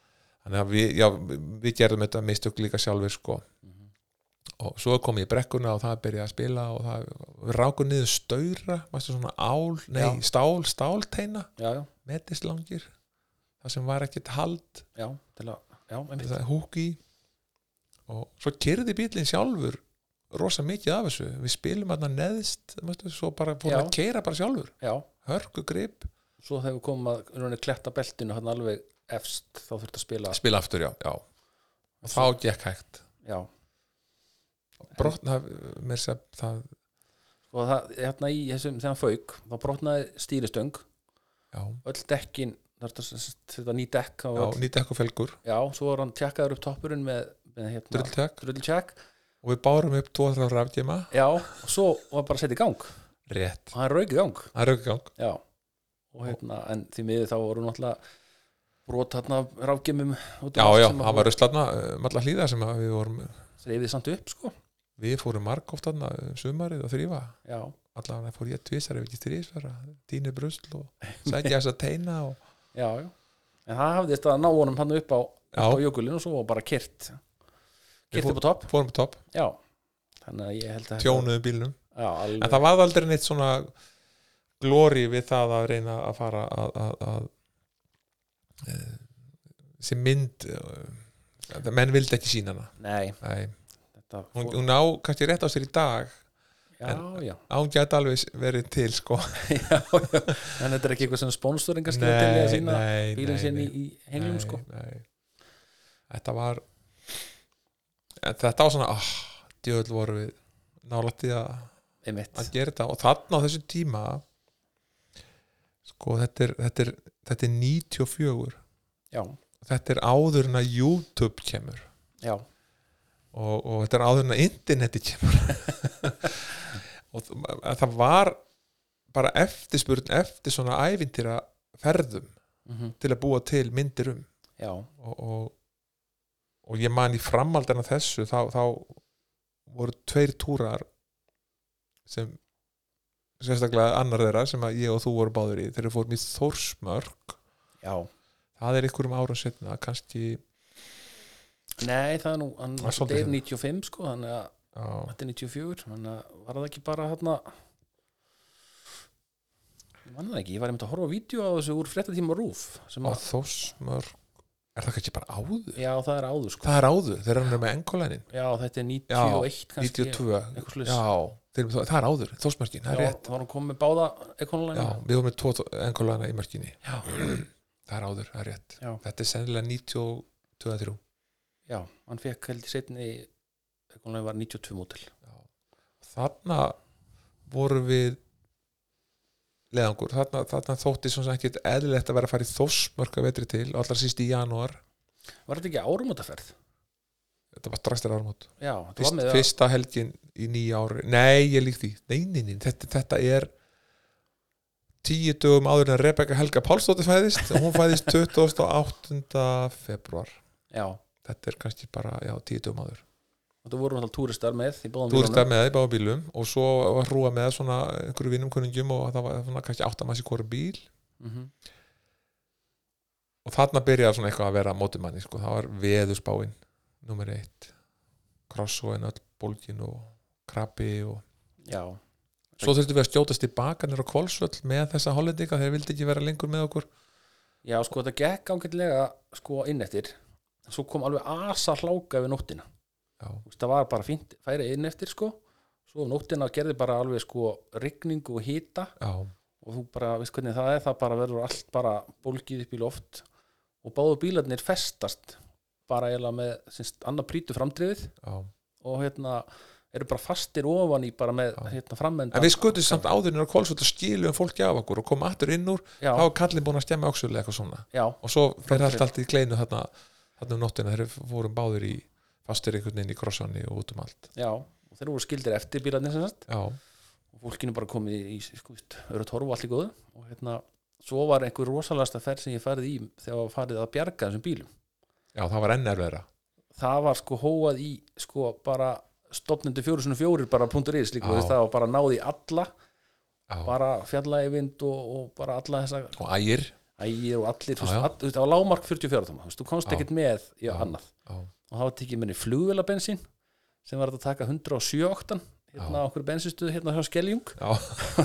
A: þannig að við, já, við- við gerðum þetta mistök líka sjálfur sko
B: mhm,
A: og svo kom ég í brekkuna og það byrjaði að spila og það, við rákum niður staura mæstu svona ál, nei,
B: Já.
A: stál stálteina,
B: já, já,
A: metislangir það sem var ekkert hald
B: já, til að já, einmitt,
A: það húk í og svo kyrði bílinn sjálfur rosa mikið af þessu, við spilum hann neðst, mæstu, svo bara fór hann
B: Já.
A: að keira bara sjálfur,
B: já
A: hörku grip
B: svo þegar við komum að rauninni kletta beltinu hann alveg efst, þá þurfti að spila
A: spila aftur, já, já og þá gekk hægt
B: já,
A: brotna, mér sér það,
B: og það, hérna í þessum, þegar hann fauk þá brotnaði stýristöng
A: já,
B: öll dekkin, þarfti að setja ný dekk á
A: já
B: öll
A: nýtti eitthvað felgur,
B: Já, svo var hann tjekkaður upp toppurinn með, með hérna,
A: drulltek
B: drulltjekk
A: og við bárum upp 2-3 rafgema,
B: Já, og svo var bara að setja í gang og
A: rétt
B: hann rauk í gang
A: Það er aukagang
B: Já, og hérna, en því miður þá voru náttúrulega brot hérna ráfgemum
A: Já, já, það var eh, ruslatna, allar hlýða um sem að við vorum
B: Reyfið samt upp, sko
A: við fórum marg oft aðna sumarið að þrýfa
B: Já,
A: allar hann fór ég tvisar ef ekki þrýsvara tínu brusl og sækja þess að teina og
B: já, já En það hafðist að ná honum hann upp á, á
A: já,
B: jökulinn og svo var bara kyrt
A: Við
B: Kyrt upp á topp,
A: fórum á topp,
B: já Þannig að ég held að þetta-
A: tjónuðum bílnum
B: Já, alveg,
A: en það var aldrei neitt svona glóri við það að reyna að fara að, að, að eh, sem mynd eh, að menn vildi ekki sína hana
B: nei
A: Nei,
B: þetta
A: hún,
B: fór,
A: hún á kannski rétt á sér í dag
B: Já, já,
A: án gæti alveg verið til sko
B: já, já En þetta er ekki eitthvað sem sponsorinn kannski er til í að
A: Nei,
B: sína
A: nei,
B: bílinn
A: nei,
B: sinn
A: nei.
B: í, í henglum
A: Nei,
B: sko
A: nei. Þetta var en þetta var svona ah, djöðl voru við nálætti að,
B: einmitt,
A: að gera þetta og þarna á þessu tíma sko þetta er, þetta er, þetta er 94
B: já,
A: þetta er áður en að YouTube kemur
B: já,
A: og, og þetta er áður en að interneti kemur og þú- að það var bara eftirspurn eftir svona ævintýra ferðum
B: mm
A: til að búa til myndir um
B: já
A: og, og, og ég man í framaldina þessu þá, þá voru tveir túrar sem sérstaklega annar þeirra sem að ég og þú voru báður í þegar við fórum í Þórsmörk
B: já,
A: það er einhverjum árum setna kannski
B: nei það er nú hann
A: Það er svolítið
B: deyr
A: seinna.
B: 95 sko þannig að
A: á,
B: þetta er 94 þannig að var það ekki bara þarna ég manna það ekki, ég var einmitt að horfa á vídeo á þessu úr fréttatíma rúf sem
A: á
B: að,
A: Þórsmörk er það kannski bara áður?
B: já það er áður sko
A: Það er áður, þegar hann er með engolænin
B: já þetta er 91 kannski
A: 92,
B: eitthvað svoleiðis.
A: já þeir, það er áður, Þórsmörkin, það
B: já,
A: er rétt
B: það var hann komið með báða
A: já,
B: ekonulega
A: við vorum með tvo engolæna í mörkinni
B: já,
A: það er áður, það er rétt
B: já,
A: þetta er sennilega 92-3
B: já, hann fekk held í setni ekonulega var 92 mótil
A: Já. þarna voru við leðangur, þarna, þarna þótti svona ekkit eðlilegt að vera að fara í þósmörka vetri til og allra síst í janúar
B: var þetta ekki árumótaferð?
A: þetta var strax til ármót
B: já, þetta var
A: Fyrst,
B: með að-
A: fyrsta helgin í nýja ári nei, ég lík því, nei, nei, nei þetta, þetta er tíu dögum áður en Rebecca Helga Pálsdóttir fæðist og hún fæðist 28. februar
B: já, og
A: þetta er kannski bara, já, tíu dögum áður
B: það voru náttúrulega túristar með í báðum
A: þú ert
B: bílunum.
A: það með í báða bílum og svo var hrúa með svona einhverju vinum kunningum og það var svona kannski áttamanns í hvora bíl
B: Mhm.
A: og þarna byrjaði svona eitthvað að vera mótumanni sko. það var veðusbáin nummer eitt krossóin, öll bólgin og krabbi og
B: já,
A: svo þurftum við að stjótast í bakanir á kvolsvöll með þessa hollendinga þeir vildi ekki vera lengur með okkur
B: já, sko þetta gekk ágætlega sko inn eftir svo kom alveg asa hláka við nóttina
A: já,
B: Þú veist, það var bara fínt, færi inn eftir sko svo um nóttina gerði bara alveg sko rigningu og hýta
A: já,
B: og þú bara, veist hvernig það er, það bara verður allt bara bólgið upp í loft og báðu bílarnir festast bara eiginlega með, sinst, annað prýtu framdrifið
A: já.
B: og hérna eru bara fastir ofan í bara með hérna
A: en
B: framenda
A: við sko- skutum samt áðurinn á kvolsvöll og skiljum fólki af okkur og komum aftur inn úr
B: já,
A: þá var kallin búin að stemma okkurlega eitthvað svona
B: já,
A: og svo fer allt
B: Framtrið.
A: allt í kleinu þarna, þarna um nóttina þeir vorum báður í fastir einhvern veginn í krossanni og út um allt
B: já og þeir voru skildir eftir bílarnir sem sagt
A: já,
B: og fólkinu bara komið í, í sko, öru torfu allir góðu og hérna, svo var einhver rosalasta ferð sem ég farið í þegar var farið að bjarga þessum bílum
A: já það var enn erfæra
B: það var sko hóað í sko bara stopnundu fjóru svona fjórir bara punktur ís líka,
A: Já.
B: þú veist, það var bara náði alla
A: já.
B: bara fjallægi vind og, og bara alla þessa
A: og ægir
B: ægir og allir, þú
A: Já, já.
B: veist, all- þú veist, á lágmark 44 tóma, þú veist, þú komst
A: Já.
B: ekkert með í
A: Já.
B: annað
A: já,
B: og það var tekið minni flugvélabensín sem var hægt að taka 107 oktan hérna á okkur bensinstuð hérna hjá Skeljung
A: já,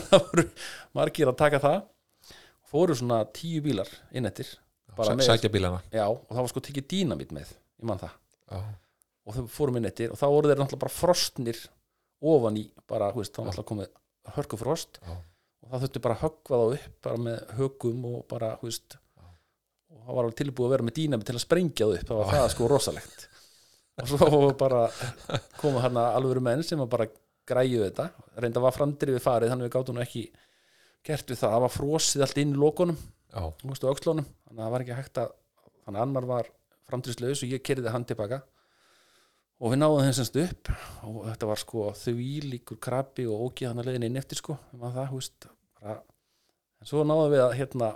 B: það voru margir að taka það fóru svona tíu bílar inn eftir bara
A: sæ-
B: með,
A: sækja bílana
B: já, og það var sko tekið dýnamít með, ég man það
A: já,
B: og þau fórum inn eftir og þá voru þeir náttúrulega bara frostnir ofan í, bara, þú veist, þá var náttúrulega komið hörkufrost
A: já,
B: og það þurfti bara að höggva þá upp bara með högum og bara þú veist, og það var alveg tilbúið að vera með dýnami til að sprengja það upp, það var það sko rosalegt og svo bara komu hérna alvöru menn sem að bara græju þetta, reynda var framdrifið farið þannig við gátum nú ekki gert við það það var frosið allt inn í lokunum
A: já,
B: þú veist, á öxlunum, þannig að það var ekki hægt að þannig að annar var framdrifislaus og ég kerði hann tilbaka og við náðum þeim semst upp og þetta var sko þvílíkur krabbi og ógið hann að leiðin inn eftir sko um það, þú veist, bara, en svo náðum við að hérna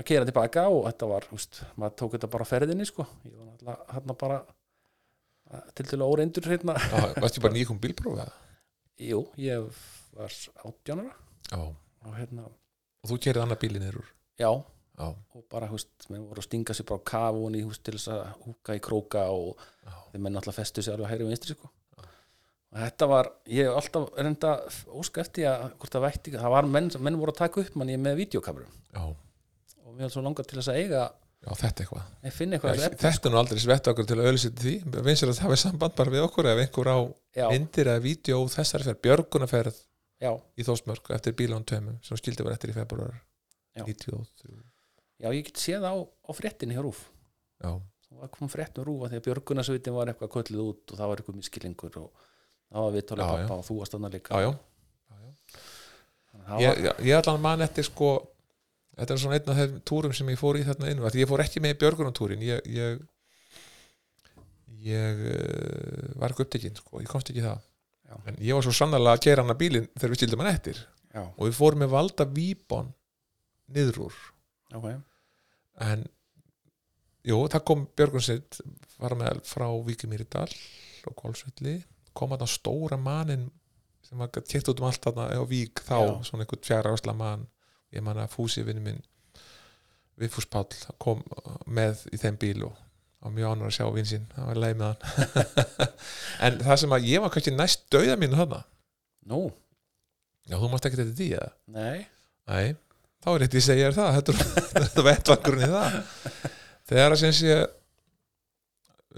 B: að keira tilbaka og þetta var, þú veist, maður tók þetta bara á ferðinni sko, ég var náttúrulega hérna bara til til óreindur hérna,
A: já, varstu bara nýjum bílprófi eða?
B: jú, ég var átjánara
A: já,
B: og hérna,
A: og þú kerið annað bílinn niður úr
B: já
A: já,
B: og bara, þú veist, menn voru að stinga sér bara á kaf og í, þú veist, til þess að húka í króka og
A: Já.
B: þeir menn alltaf festu sér alveg að hægri og vinstri, sko og þetta var, ég hef alltaf reynda óska eftir að hvort það vætti það var menn, menn voru að taka upp manni með videokamerum
A: já,
B: og mér var svo langar til þess að eiga
A: já, þetta eitthvað
B: ég finna eitthvað
A: Já,
B: þessu efni,
A: þetta er nú aldrei svett okkur til að auðlýsita því vinsir að það hafi samband bara við okkur ef einhver á
B: já,
A: myndir eða vídeo úr þessari ferð, björgunaferð
B: já,
A: í Þósmörk eftir bílán tveimum sem skildi var eftir í februar
B: Já.
A: 93
B: já, ég get séð á, á fréttinni hjá Rúf
A: já,
B: og það kom fréttin Rúf að um því að björgunarsvitin var eitthvað kölluð út og það var eitthvað miskilingur og það var viðtólega
A: Já, já.
B: pappa og þú varst annað
A: já,
B: líka
A: já.
B: Það var,
A: Ég, ég- ég allan man eftir sko þetta er svona einn af þeim túrum sem ég fór í þarna inn af því ég fór ekki með í björgunatúrin ég ég, ég uh, var ekki upptekinn sko, ég komst ekki í það
B: Já.
A: en ég var svo sannarlega að gera hana bílinn þegar við skildum hann eftir
B: já,
A: og við fórum með valda výbon niður úr
B: ok,
A: en jú, það kom Björgunsveit var með frá Víkimýridal og Kolsvelli kom þarna stóra mannin sem var kett út um allt þarna á Vík þá,
B: Já.
A: svona einhvern fjara ásla mann ég man að Fúsi vinnu minn Vigfús Páll kom með í þeim bíl og og mjög ánur að sjá vinn sín, það var leið með hann en það sem að ég var kannski næst dauða mínu þarna,
B: nú,
A: já þú mást ekki þetta því eða
B: nei
A: Nei, þá er eitt ég segja þér það Þetta er- þetta er vettvangurinn í það Þegar að sem sé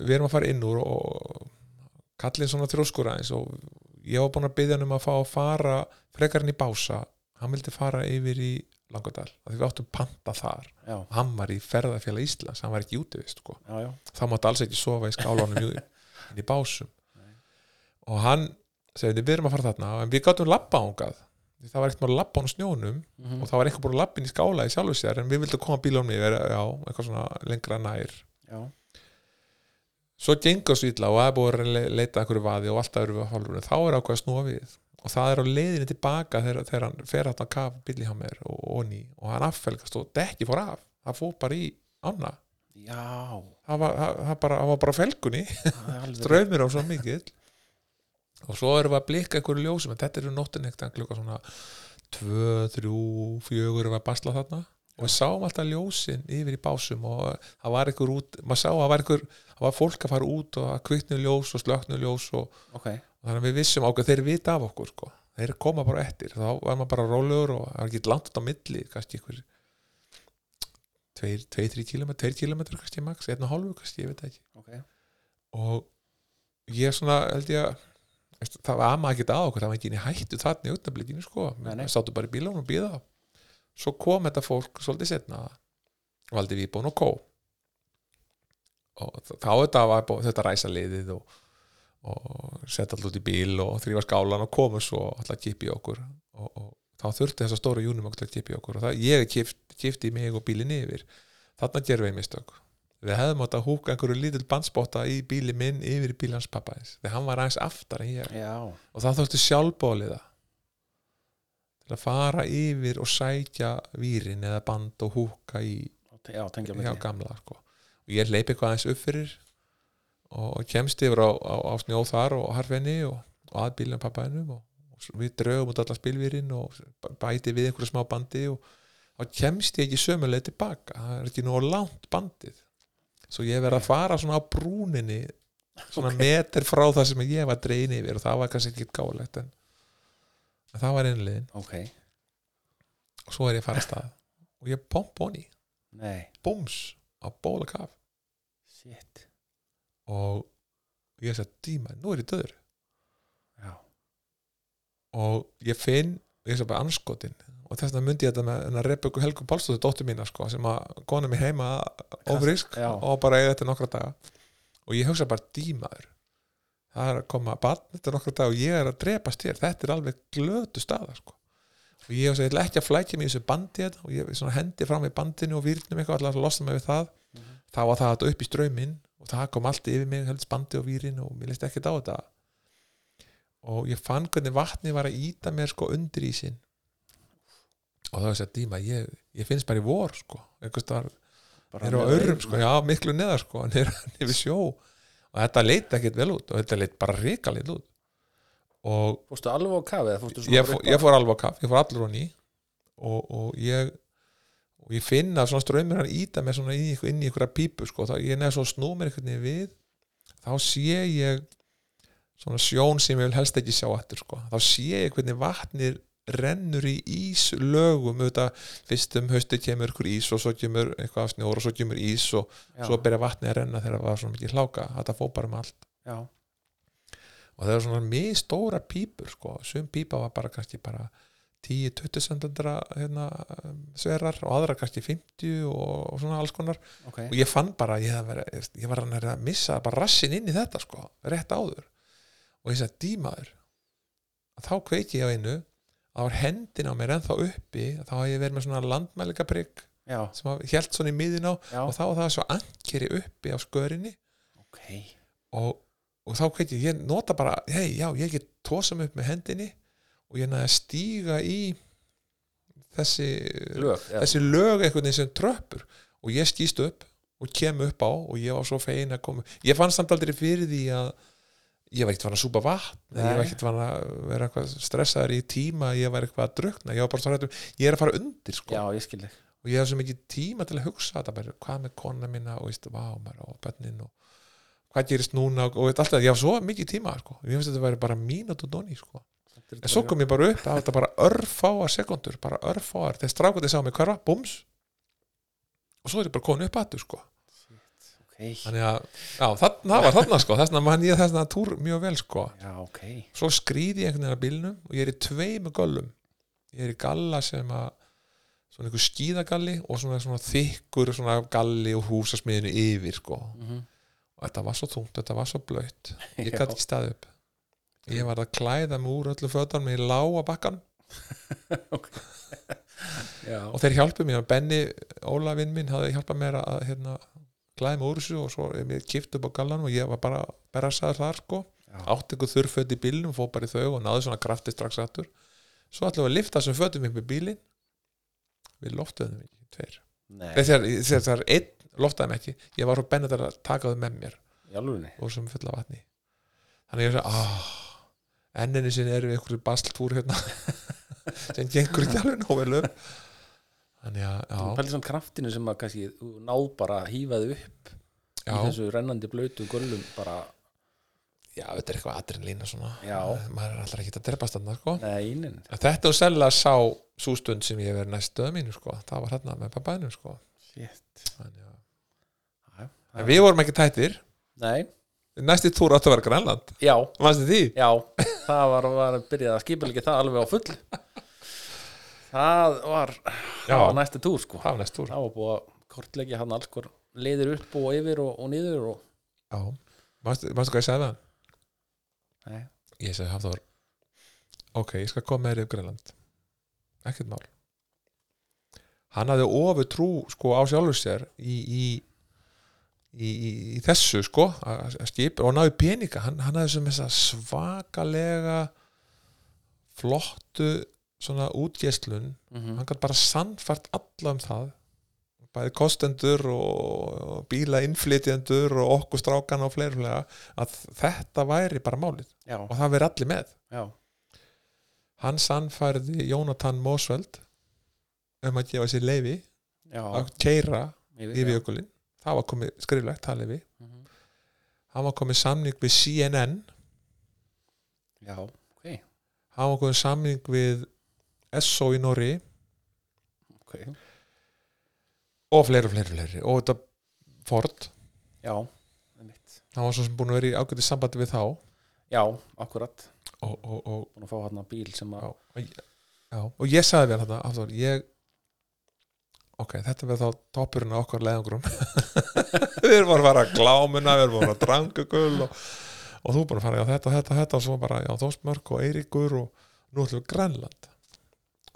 A: við erum að fara inn úr og kallinn svona þrjóskur aðeins og ég var búin að byggja hann um að fá að fara frekarinn í Bása hann vildi fara yfir í Langadal að því við áttum panta þar
B: já,
A: og hann var í ferðarfélag Íslands, hann var ekki útivist sko
B: já, já
A: þá mátti alls ekki sofa í skálanum jú- inn í básum og hann segði við erum að fara þarna en við gátum labba ángað það var eitthvað að labba án snjónum
B: Mhm.
A: og það var eitthvað búin að labba inn í skála í sjálfu sér en við vildum koma bílunum yfir já, eitthvað svona lengra nær
B: Já,
A: svo gengur svo illa og það er búin að le- leita að einhverju vaði og alltaf erum við að hálfur þá er ákveð að snúa við og það er á leiðinni tilbaka þegar, þegar hann fer hann að kafa bíli hjá mér og, og ný og hann affelgast og dekki fór af það fór bara í ána
B: já,
A: það var, það, það bara, það var bara á felgunni
B: það er alveg
A: ströymir á svo mikið og svo erum við að blika einhverju ljósum en þetta eru nóttin eitthvað klukka svona 2, 3, 4 erum við að basla þarna og við sáum alltaf ljósin yfir í básum og það var einhver út, maður sá að það var einhver það var fólk að fara út og að kviknu ljós og slöknu ljós og,
B: ok,
A: og þannig að við vissum ákveð þeir vita af okkur sko. þeir koma bara eftir, þá var maður bara rólegur og það var ekki langt á milli kannski einhver 2-3 km, 2 km kannski max 1,5 kannski, ég veit það ekki
B: ok
A: og ég svona held ég að veist, það var amma ekkert að okkur, það var ekki inn í hættu þarna í augnablikinu sko,
B: Nei, nei.
A: við sátum bara í bílunum og býða svo kom þetta fólk svolítið setna valdi Víbón og Kó og þá þá þetta var bú- þetta ræsa liðið og, og setja alltaf út í bíl og þrýfa skálan og komu svo alltaf að kipa í okkur og, og þá þurfti þessa stóra júnum okkur að kipa í okkur og það, ég kipti kipt í mig og bílinn yfir þarna gerum við mistök við hefðum átt að húka einhverju lítill bandspotta í bíli minn yfir í bíl hans pappa eins þegar hann var aðeins aftar en ég
B: já,
A: og það þótti sjálfbóliða til að fara yfir og sækja vírin eða band og húka í
B: já, tengja
A: hjá
B: með
A: gamla sko. og ég hleyp eitthvað aðeins upp fyrir og, og kemst yfir á, á, á snjóð þar og harfinni og, og að bílum pappaðinum og, og svo við draugum út allar spilvírin og b- bæti við einhverju smá bandi og þá kemst ég ekki sömuleið tilbaka það er ekki nóg langt bandið svo ég verið að fara svona á brúninni svona meter frá það sem ég var drein yfir og það var kannski ekki gáðlegt en, en það var innliðin
B: ok,
A: og svo er ég að fara að stað og ég pomp honi,
B: nei,
A: búms á bólakaf
B: shit
A: og ég sagði, díma, nú er ég döður
B: já,
A: og ég finn, ég sagði bara anskotin og þess vegna myndi ég þetta með hennar Rebekku Helgu Pálsdóttir, dóttir mína sko, sem að kona mér heima ofrisk
B: já.
A: og bara eiga þetta nokkra daga og ég hugsa bara dímaður það er að koma barn þetta nokkra daga og ég er að drepast hér þetta er alveg glötu staða sko. og ég hugsa, ég ætla ekki að flækja mig í þessu bandi hérna, og ég svona hendi fram í bandinu og výrnum eitthvað, allar að losna mig við það
B: Mhm.
A: þá var það þetta upp í ströyminn og það kom allt yfir mig, helst bandi og výrin og mér leist ekkert á þetta og ég fann hvernig vatni var að íta mér sko undir í sin og það var þess að díma ég, ég finnst bara í vor sko einhvers þar,
B: bara
A: nýr á
B: með-
A: örum sko já, miklu neðar sko, nýr, nýr við sjó og þetta leit ekkert vel út og þetta leit bara ríkalið út og
B: fórstu alveg á kafið eða fórstu svona
A: ég,
B: bara
A: fó,
B: upp á-
A: ég fór alveg á kaff, ég fór allur á ný og, og ég og ég finn að svona strömmir hann íta með svona inn í, inn í ykkur pípu sko, þá ég neða svo snú mér einhvern veginn við þá sé ég svona sjón sem ég vil helst ekki sjá aftur sko. þá sé ég hvernig vatnir rennur í íslögum auðvitað, fyrst um haustu kemur ykkur ís og svo kemur eitthvað af snjór og svo kemur ís og
B: já,
A: svo byrja vatnið að renna þegar það var svona mikið hláka, þetta fór bara um allt
B: já,
A: og það eru svona misstóra pípur sko. sum pípa var bara kannski bara 10-20 sendendra hérna, um, sverar og aðra kannski 50 og, og svona alls konar
B: ok
A: og ég fann bara, að ég, hefði verið, ég var hann að missa bara rassin inn í þetta sko, rétt áður og ég sagði dímaður að þá kveiki ég á einu það var hendin á mér ennþá uppi þá hafði ég verið með svona landmælika prigg
B: já,
A: sem held svona í miðin á
B: já,
A: og þá var það svo ankeri uppi á skörinni
B: ok
A: og, og þá kveit ég, ég nota bara hei, já, ég get tósa mig upp með hendinni og ég næði að stíga í þessi
B: lög, já,
A: þessi lög einhvern veginn sem tröppur og ég skýst upp og kem upp á og ég var svo fegin að koma ég fann samt aldrei fyrir því að ég var ekkert fann að súpa vatn eða ég var
B: Nei.
A: ekkert fann að vera eitthvað stressaður í tíma ég var eitthvað að drukna, ég var bara svo hrættum ég er að fara undir sko
B: já, ég skil þig
A: og ég hef svo mikið tíma til að hugsa þetta bara, hvað með kona mína og veist, vá, maður, og bönnin og hvað gerist núna og, og veit allt það, ég hef svo mikið tíma sko. ég finnst að þetta væri bara mínútu doni sko.
B: Samt er
A: en svo
B: þetta bara-
A: kom ég bara upp að þetta bara örfáar sekundur, bara örfáar þegar strákundi sá mig hverfa, búms og svo er ég bara komin upp aftur sko.
B: ok,
A: þannig að, já, það, það var þarna sko. þessna mann ég þessna túr mjög vel sko.
B: já, ok
A: svo skrýði ég einhvern veginn að bílnum og ég er í tveimu göllum ég er í galla sem að svona einhver skíðagalli og svona, svona þykkur svona galli og húsasmiðinu yfir sko.
B: Mhm.
A: og þetta var svo þungt, þetta var svo blöytt ég
B: Já.
A: gæti ekki stað upp ég var að klæða mig úr öllu fötan með lága bakkan
B: já,
A: og þeir hjálpu mér, Benni Ólafinn minn hafði hjálpað mér að hérna, klæða mig úr þessu og svo er mér kipt upp á gallan og ég var bara berrasaður þar sko
B: já,
A: átti ykkur þurrföt í bílnum, fór bara í þau og náði svona krafti strax aftur svo ætlum við að lifta þessum fötum upp í bílinn við loftuðum ekki, tveir
B: Nei,
A: þegar, þegar, þegar það er einn, loftaðum ekki ég var svo bennið að taka þau með mér
B: í alvöginni
A: og sem fulla vatni þannig ég er að ah, enninni sinni erum við einhverju bastltúr hérna sem gengur ekki alveg nógu vel upp þannig
B: Þú
A: að,
B: pælir svona kraftinu sem að kannski þú náð bara að hífa þau upp
A: já,
B: í
A: já,
B: þessu rennandi blöytu gullum bara,
A: já þetta er eitthvað adrenalína svona
B: Já.
A: maður er alltaf ekki að drepa standa sko.
B: nei, nein
A: En þetta og selja sá svo stund sem ég hef verið næstu að mínu sko. það var hérna með pappaðinu sko.
B: Shit
A: Þannig að-
B: Já,
A: en við vorum ekki tættir
B: Nei,
A: næsti túr átti að vera Grænland
B: já,
A: mannstu því?
B: já það var, var að byrja að skipa líka það alveg á full Það var
A: Já.
B: það var næsti túr sko
A: það var næst túr
B: Það var búið að kortleggja hann alls hvort leiðir upp og yfir og, og niður og
A: mannstu hvað ég sagði það?
B: Nei.
A: ég sagði Hafþór ok, ég skal koma með þér yfir Grænland ekkert mál hann hafði ofur trú sko á sjálfur sér í, í, í, í, í þessu sko að að skip og náði peninga hann, hann hafði sem þessa svakalega flottu svona útgeislun
B: Mhm.
A: hann gætt bara sannfært alla um það bæði kostendur og og bílainnflytjendur og okkur strákan og fleirflega að þetta væri bara málið
B: Já,
A: og það veri allir með
B: já,
A: hann sannfærði Jónatan Mosveld um að gefa sér leifi
B: já
A: að keira yfir
B: já.
A: jökulinn það var komið skriflegt, það leifi
B: Mhm.
A: hann var komið samning við CNN
B: Já, ok,
A: hann var komið samning við SO í Norri
B: ok
A: og fleiri, fleiri, fleiri og þetta Ford,
B: Já, það er mitt
A: hann var svo sem búin að vera í ágæti sambandi við þá og,
B: Já, akkurat,
A: og, og,
B: búin að fá hann bíl sem að
A: já, og ég- já, og ég sagði við hann þetta aftur, ég ok, þetta verður þá toppurinn á okkar leiðangrum við erum bara að fara að glámuna við erum bara að fara að drangugul og, og þú er bara að fara að þetta, þetta, þetta og svo bara, já, Þórsmörk og Eiríkur og nú ætlum við Grænland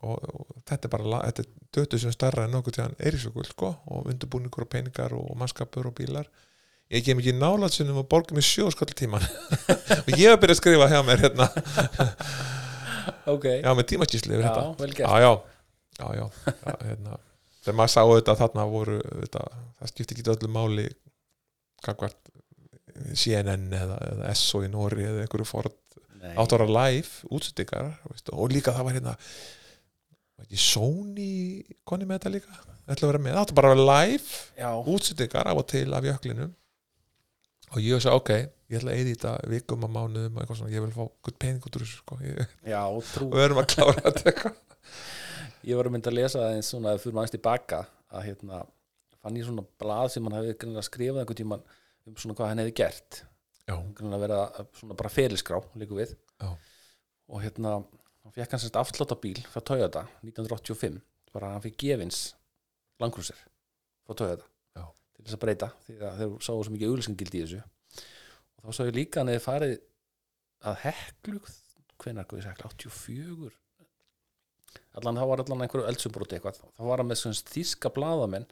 A: og, og þetta er bara, la- þetta er dötu sem starra en nokkuð tíðan Eiríksjökull, sko og undirbúningur og peningar og, og mannskapur og bílar ég kem ekki nálaðsunum og borgum í sjó skalltíman og ég hef byrjað að skrifa hjá mér hérna
B: Ok,
A: Já, með tímakísli yfir þetta.
B: vel
A: Já,
B: gert
A: já, já, já, já hérna. Þegar maður sá þetta þarna voru, þetta, það skipti ekki öllu máli kakvart CNN eða, eða SO í Nóri eða einhverju Ford
B: Nei.
A: átt ára live útsendingar veistu, og líka það var hérna var ekki Sony konni með þetta líka ætla að vera með, það átti bara að vera live
B: Já,
A: útsendingar af og til af jöklinum og ég sagði ok ég ætla að eyða í þetta vikum að mánuðum og eitthvað svona, ég vil fá gutt pening út úr þessu sko. ég,
B: já, trú
A: við erum að klára þetta eitthvað
B: Ég var að mynda að lesa það eins svona að fyrir maður tilbaka að hérna fann ég svona blað sem hann hefði greinlega skrifað einhvern tímann um svona hvað hann hefði gert
A: Já.
B: greinlega verið að svona bara ferilskrá líku við
A: Já.
B: og hérna hann fekk hann sérst afslátt á bíl frá Toyota 1985 bara hann fekk gefins langkrusir frá Toyota
A: Já.
B: til þess að breyta því að þeir sáu svo mikið auglýsingildi í þessu og þá sá ég líka hann hefði farið að heklu hvenær guðis heklu 84 allan það var allan einhverju eldsumbroti eitthvað þá var hann með svona þíska blaðamenn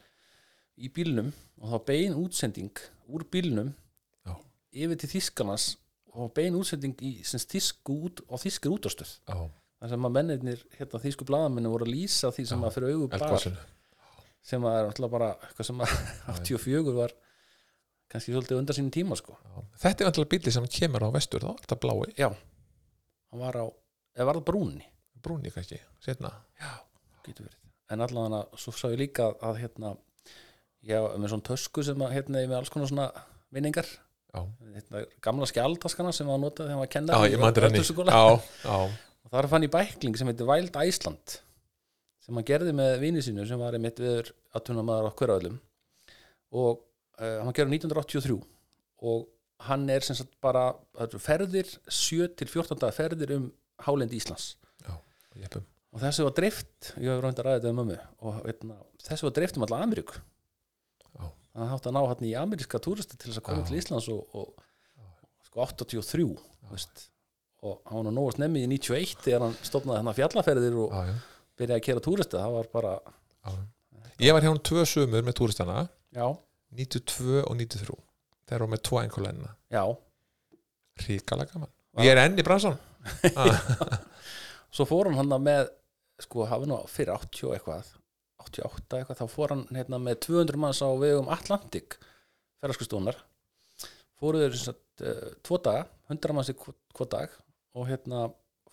B: í bílnum og þá bein útsending úr bílnum
A: Já.
B: yfir til þískarnas og þá bein útsending í sem þísku út og þískir útastöð
A: Já,
B: þar sem að mennirnir, hérna þísku blaðamennu voru að lýsa því sem
A: Já,
B: að fyrir augu bar
A: eldgóðsunu
B: sem að er alltaf bara eitthvað sem að 84 var kannski svolítið undan sínum tíma sko
A: Þetta er vantilega bíli sem kemur á vestur þá, þetta blái,
B: hann var á, eða var það brúni
A: brúni kannski setna,
B: getur verið en allan að svo sá ég líka að, að hérna ég var með svona tösku sem að hérna ég með alls konar svona vinningar
A: já,
B: hérna, gamla skjaldaskana sem að notaði þegar maður
A: já
B: kenna
A: ég maður henni
B: og
A: Já, já,
B: þar fann ég bækling sem heitir Wild Iceland sem hann gerði með vini sínu sem var einmitt viður aðtunum maður á hverjaðlum og uh, hann gerði 1983 og hann er sem sagt bara það eru ferðir 7 til 14 daga ferðir um hálendi Íslands
A: jeppum
B: og þessu var dreift ég hef rönd að ræða þetta um mömmu og veitna, þessu var dreift um alla Ameríku
A: Já.
B: þannig að hátt að ná hann í ameríska túristi til þess að koma
A: Já.
B: til Íslands og, og sko 83 þú veist, og hann var nú nógu snemmi í 91 þegar hann stofnaði hann að fjallaferðir og
A: já, já,
B: byrjaði að kera túristi það var bara,
A: já. Ég var hjá hún tvö sömur með túristana
B: já,
A: 92 og 93 Þeir eru með tvo einhverlænina
B: já
A: ríkala gaman ég er enn í bransan
B: svo fór hann hann með sko hafi nú fyrir 80 og eitthvað 88 eitthvað, þá fór hann hérna, með 200 manns á vegum Atlantik ferðarskristónar fóruðu þeir sem sagt, eh, tvo daga 100 manns í hvo hvo dag og hérna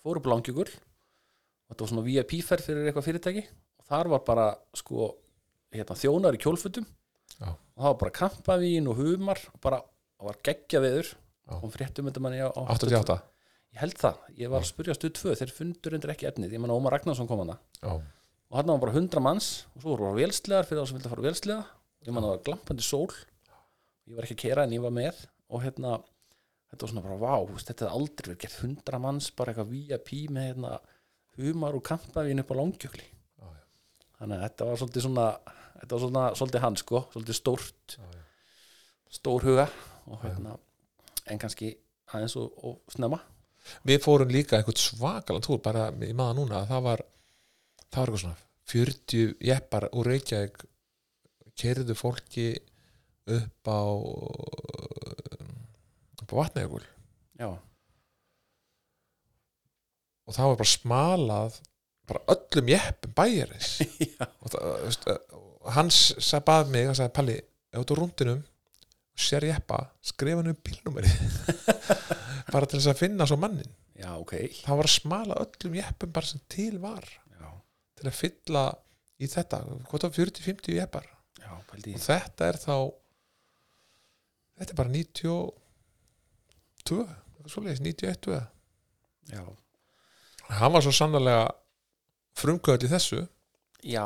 B: fóru blangjúkur og þetta var svona VIP-ferð fyrir eitthvað fyrirtæki og þar var bara sko hérna, þjónar í kjólfutum
A: Já.
B: og það var bara kampavín og humar og bara, það var geggja veður
A: Já.
B: og fréttum þetta manni á
A: 88
B: Ég held það, ég var að spyrja stuð tvö þeir fundur undir ekki efnið, ég menna Ómar Ragnarsson kom hana
A: Já.
B: og hann var bara 100 manns og svo voru bara vélslegar fyrir þá sem vildi að fara á vélslega ég menna það var glampandi sól ég var ekki að kera en ég var með og hérna, þetta var svona bara vá þú veist, þetta hefði aldrei verið gert 100 manns bara eitthvað VIP með hérna humar og kampavín upp á langjökli
A: Já, já.
B: þannig að þetta var svolítið svona þetta var svona, svolítið hann sko svolítið stórt,
A: Já, já.
B: stór huga og hérna, en kannski aðeins og, og snemma
A: við fórum líka einhvern svakalan túr bara í maður núna að það var það var eitthvað svona 40 jeppar úr Reykjavík kerðu fólki upp á upp á vatnajökul
B: já,
A: og það var bara smalað bara öllum jeppum bæjarins
B: já,
A: og það, þú veist, eh, hans sagði bað mig og sagði Palli, ef þú rúndinum og sér jeppa, skrifa hann um bílnúmeri bara til þess að finna svo mannin
B: já, ok
A: það var að smala öllum jeppum bara sem til var
B: já,
A: til að fylla í þetta hvort á 40-50 jeppar
B: já, pældi í
A: og þetta er þá þetta er bara 92 eitthvað svoleiðis, 91 eða.
B: já,
A: hann var svo sannlega frumkvöld í þessu
B: já,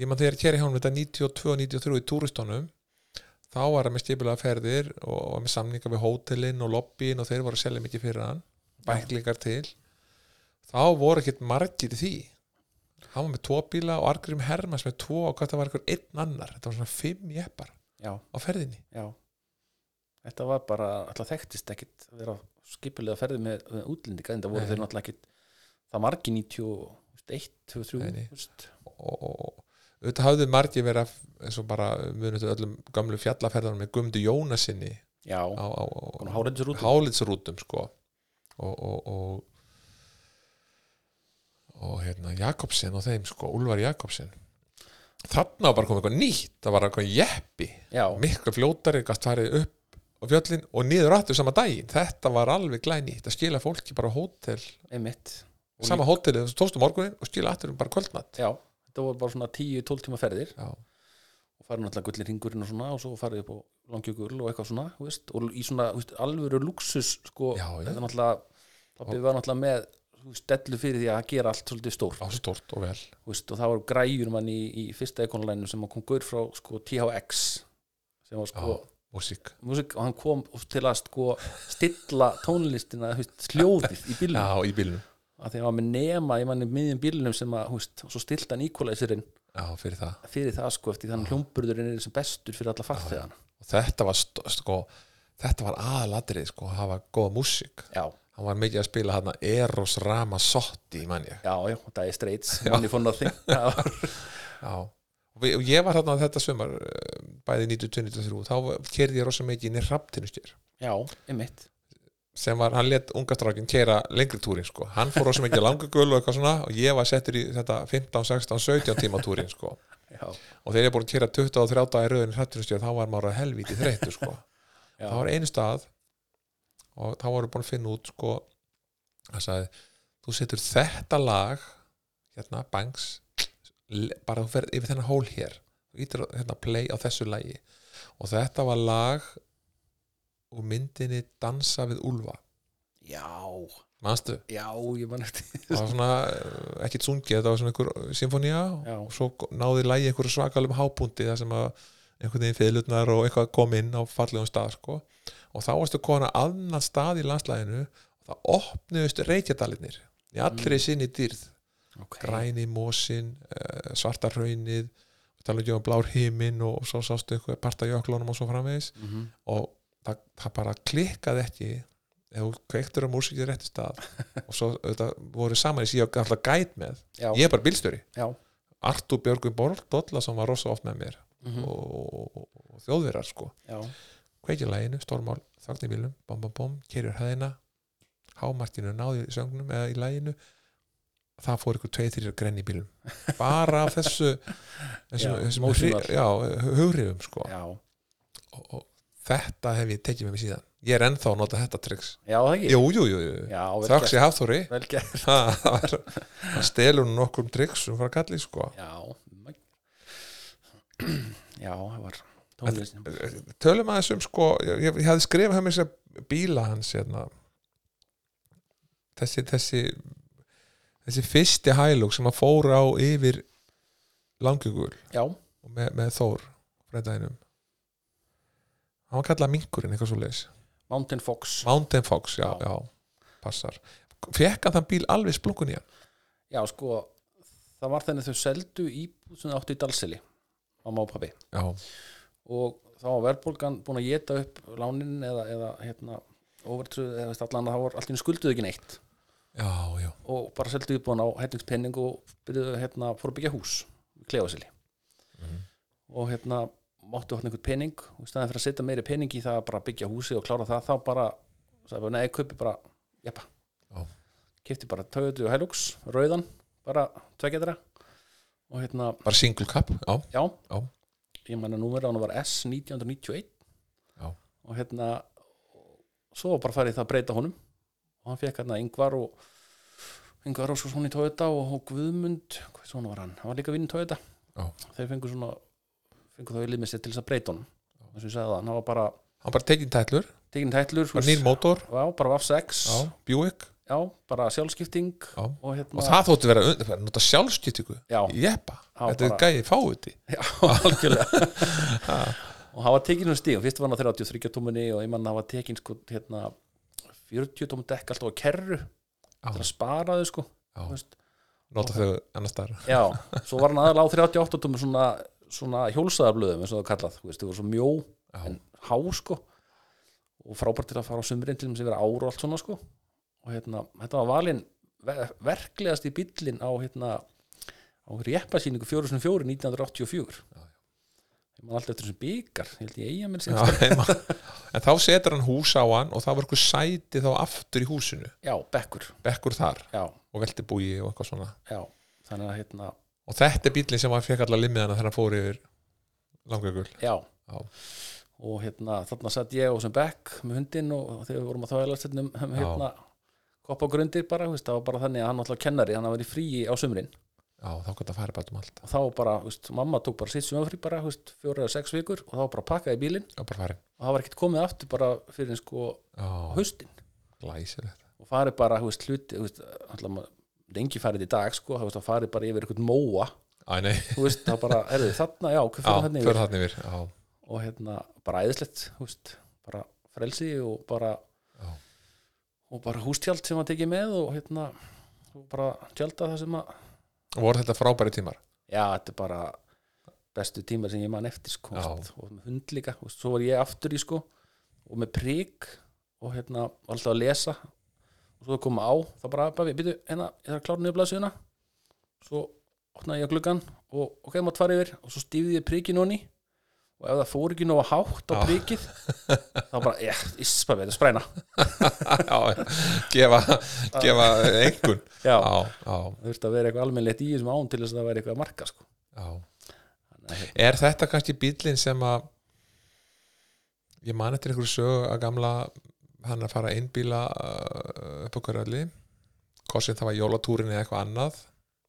A: ég mann þegar ég keri hjá hann þetta 92-93 í túristónum þá var hann með skipulega ferðir og var með samninga við hótelin og lobbyin og þeir voru að selja mikið fyrir hann bæklingar til þá voru ekkert margir í því hann var með tvo bíla og Argrím Hermans með tvo og hvað það var eitthvað einn annar þetta var svona fimm jeppar
B: já,
A: á ferðinni
B: já þetta var bara, alltaf þekktist ekkit að vera skipilega ferði með, með útlendinga en það voru
A: Nei.
B: þeir náttúrulega ekkit það margi 91, 23
A: Nei, nei.
B: þú veist.
A: og, og, og auðvitað hafði margir verið að- eins og bara munið öllum gamlu fjallaferðanum með Gumdu Jónasinni
B: já,
A: á, á, á,
B: konar háreinsur út
A: hálitsrútum sko og og, og og hérna Jakobsen og þeim sko, Úlfar Jakobsen þarna var bara komið eitthvað nýtt það var eitthvað jeppi,
B: já,
A: miklu fljótari gætt farið upp á fjöllin og niður aftur sama daginn, þetta var alveg glæni þetta skila fólki bara á hótel
B: einmitt Og
A: sama hótelið, þú tókstu morgunin og skila aftur um bara kvöldmatt
B: já, þetta voru bara svona 10-12 tíma ferðir
A: já,
B: og farið náttúrulega gullir hringurinn og svona og svo farið upp á langjúkur og eitthvað svona þú veist, og í svona þú veist, alvöru luxus sko,
A: Já, já.
B: þetta er náttúrulega pappi var náttúrulega með þú veist, dellu fyrir því að gera allt svolítið stórt
A: á stort og vel
B: Þú veist, og það var græjur mann í, í fyrsta ekonulæðinu sem að kom gaur frá sko, THX sem var sko
A: músík
B: músík, og hann kom til að sko, stilla tónlistina þú veist, sljóðið í bílnum
A: já, í bílnum,
B: að því að hann var með nema í manni miðjum bílnum sem að, þú veist, og svo stillta Nikolæsirinn
A: já, fyrir það
B: fyrir það sko eftir þannig hljómburðurinn er sem bestur fyrir alla farþegan
A: og þetta var st- sko, þetta var aðalatrið sko, að hafa góða músík
B: já,
A: hann var mikið að spila hann Eros Ramazzotti mann ég
B: já, já, það er streits manni fór náttúrulega
A: já. og við- og ég var hann þetta sömar bæði 92-93 þá kerði ég rosa mikið inn í Rapptinusker
B: já, einmitt
A: sem var, hann let unga strákin kera lengri túrin sko, hann fór rosa mikið langugul og eitthvað svona og ég var settur í þetta 15, 16, 17 tíma túrin sko
B: já,
A: og þegar ég er búin að kera 20 og 30 daga í rauðin Rapptinusker þá var maður að helvíti þreyttu sko
B: já,
A: það var einu stað og þá voru búin að finna út sko, hann sagði þú setur þetta lag hérna, bangs le- bara þú ferð yfir þennan hól hér þú ítir hérna play á þessu lagi og þetta var lag úr myndinni Dansa við Úlfa
B: já,
A: manstu,
B: já, ég man eftir
A: það var svona eh, ekkit sungið, þetta var svona einhver symfónía
B: Já.
A: og svo náði lagi einhverju svakalum hábúndi þar sem að einhvern veginn fyrirlutnar og eitthvað kom inn á fallegum stað sko. og þá varstu kona annan stað í landslæðinu og það opnuðust reykjadalinnir í allri sinni dýrð
B: okay.
A: græni mósin, uh, svarta hraunið tala ekki um blár himinn og svo sástu eitthvað parta jöklunum og svo framvegis
B: mm -hmm.
A: og það, það bara klikkaði ekki ef þú kveiktur á músikið rétti stað og svo auðvitað voru saman í síðan alltaf gæt með
B: já,
A: ég er bara bílstjóri
B: já,
A: Artur Björgum Bordolla sem var rosa oft með mér
B: mhm,
A: og, og, og, og þjóðverjar sko
B: já
A: kveikir læginu, stórmál, þagn í bílum bom, bom, bom, kerjur hæðina hámarkinu náði í söngnum eða í læginu það fór ykkur tveið þrjir grenn í bílum bara af þessu þessum,
B: Já,
A: þessum hri,
B: emotional.
A: já, hugriðum sko.
B: já,
A: og, og þetta hef ég tekið með mér síðan ég er ennþá að nota þetta triks
B: já það ekki
A: jú, jú, jú, jú.
B: já, vel
A: þöks
B: gert,
A: ég hafþóri
B: vel gert
A: Ha, það var- hann stelur nú nokkrum triks um frá kalli sko
B: já já, það var tónlist
A: tölum aðeins um sko ég, ég hafði skrifað hann með þess að bíla hans hérna þessi þessi þessi fyrsti hælug sem að fór á yfir langjökul
B: já,
A: og með, með Þór fredæðinum hann var kallað minkurinn eitthvað svo leis
B: Mountain Fox
A: Mountain Fox, já,
B: Já.
A: já, passar fekk hann þann bíl alveg splunkun í hann
B: já, sko, það var þannig að þau seldu íbúð sem þau áttu í Dalsili mamma og pabbi
A: já,
B: og þá var verðbólgan búin að geta upp lánin eða, eða hérna overtröð eða veist, allan að það var allt í einu skulduð ekki neitt
A: já, já,
B: og bara seldu íbúin á hellingspenning og byrjuðu hérna fór að byggja hús í klefasili og hérna máttu hann einhvern pening og í staðan fyrir að setja meiri pening í það að bara byggja húsi og klára það þá bara, sagði bara, nei, kaupi bara jeppa,
A: Já.
B: kipti bara Toyota og Hilux, rauðan bara tveggjaðra og hérna,
A: bara single cup já,
B: já,
A: Já.
B: ég menna númerið á hann var S 1991
A: Já.
B: og hérna svo var bara farið það að breyta honum og hann fekk hérna yngvar og yngvar og svo svona í Toyota og, og Guðmund, hvað svona var hann hann var líka vinn í Toyota
A: Já.
B: þeir fengu svona fengu þá í lið með sér til þess að breyta honum þess að ég sagði það, hann var bara
A: hann bara tekinn tætlur,
B: tekinn tætlur
A: bara nýr mótor
B: já, bara VAF6
A: já, Buick
B: já, bara sjálfskipting
A: Já.
B: og
A: og
B: hérna
A: það þótti vera und- bara nota sjálfskiptingu
B: já,
A: jeppa,
B: Já,
A: þetta er
B: bara-
A: gæði fáuti
B: Já, algjörlega og hann var tekinn um stíðum, fyrst var hann á 33 tómunni og einmann hann var tekinn sko hérna 40 tómun dekk alltaf á kerru til að spara þau sko
A: Já.
B: þú veist.
A: nota þau annars þar
B: já, svo var hann aðal á 38 tómun svona, svona hjólsaðablöðum eins og það er kallað, þú veist, þau voru svo mjó en há sko og frábært til að fara á sumrin til þess að vera ár og allt svona sko og hérna, þetta var valinn ver verklegast í bíllinn á hérna á réppasýningu 404 1984
A: Já, já.
B: ég man alltaf eftir þessum byggar ég held ég eiga minn
A: Já,
B: sem
A: heima. en þá setur hann hús á hann og það var eitthvað sæti þá aftur í húsinu
B: já, bekkur,
A: bekkur þar
B: já,
A: og veltibúi og eitthvað svona
B: já þannig að hérna,
A: og þetta er bílinn sem hann fekk allar limmiðana þegar hann fór yfir langökul
B: já
A: Já.
B: og hérna, þarna satt ég á þessum bekk með hundinn og þegar við vorum að þvæla hérna, um,
A: Já.
B: hérna koppa grundir bara, þú veist, það var bara þannig að hann var alltaf kennari, hann var í fríi á sumrin
A: já, þá gott að fara bara um allt
B: og þá bara, þú veist, mamma tók bara sitt sumarfrí bara, þú veist, fjóra eða sex vikur og þá bara pakkaði í bílinn
A: já, bara farin
B: og það var ekkert komið aftur bara fyrir en sko á
A: já,
B: haustin
A: glæsilegt
B: og farið bara, þú veist, hluti þú veist, alltaf maður, lengi farið í dag sko, þú veist, þá farið bara yfir eitthvað móa
A: Æ, nei,
B: þú veist, þá bara, erðu þarna, já, hvað
A: já,
B: fyrir
A: fyrir
B: þarna yfir
A: þarna yfir já,
B: og hérna, bara æðislegt, þú veist bara frelsi og bara
A: Já.
B: og bara hústjald sem að tekið með og hérna, og bara tjálta það sem að
A: og voru þetta frábæri tímar
B: já, þetta er bara bestu tímar sem ég man eftir sko,
A: Já.
B: veist, og með hund líka, og svo var ég aftur í sko, og með prík og hérna, var alltaf að lesa og svo koma á, þá bara, bara býtu, hérna, ég þarf að klára niður blaðsjöðuna svo opnaði ég gluggan og ok, maður tvara yfir, og svo stífði ég príkin honni, og ef það fór ekki nóga hátt á
A: Já.
B: príkið þá bara, ég, ispaði, þetta er spræna
A: já, gefa, gefa eh, einhvern
B: já,
A: já, já,
B: það þurfti að vera eitthvað almennilegt í þessum án til þess að það væri eitthvað að marka sko.
A: já
B: Þannig að, hérna,
A: Er þetta kannski bíllinn sem að ég man eftir einhverju sög að gamla hann að fara að einbíla uh, upp á hverjalli hvort sem það var jólatúrin eða eitthvað annað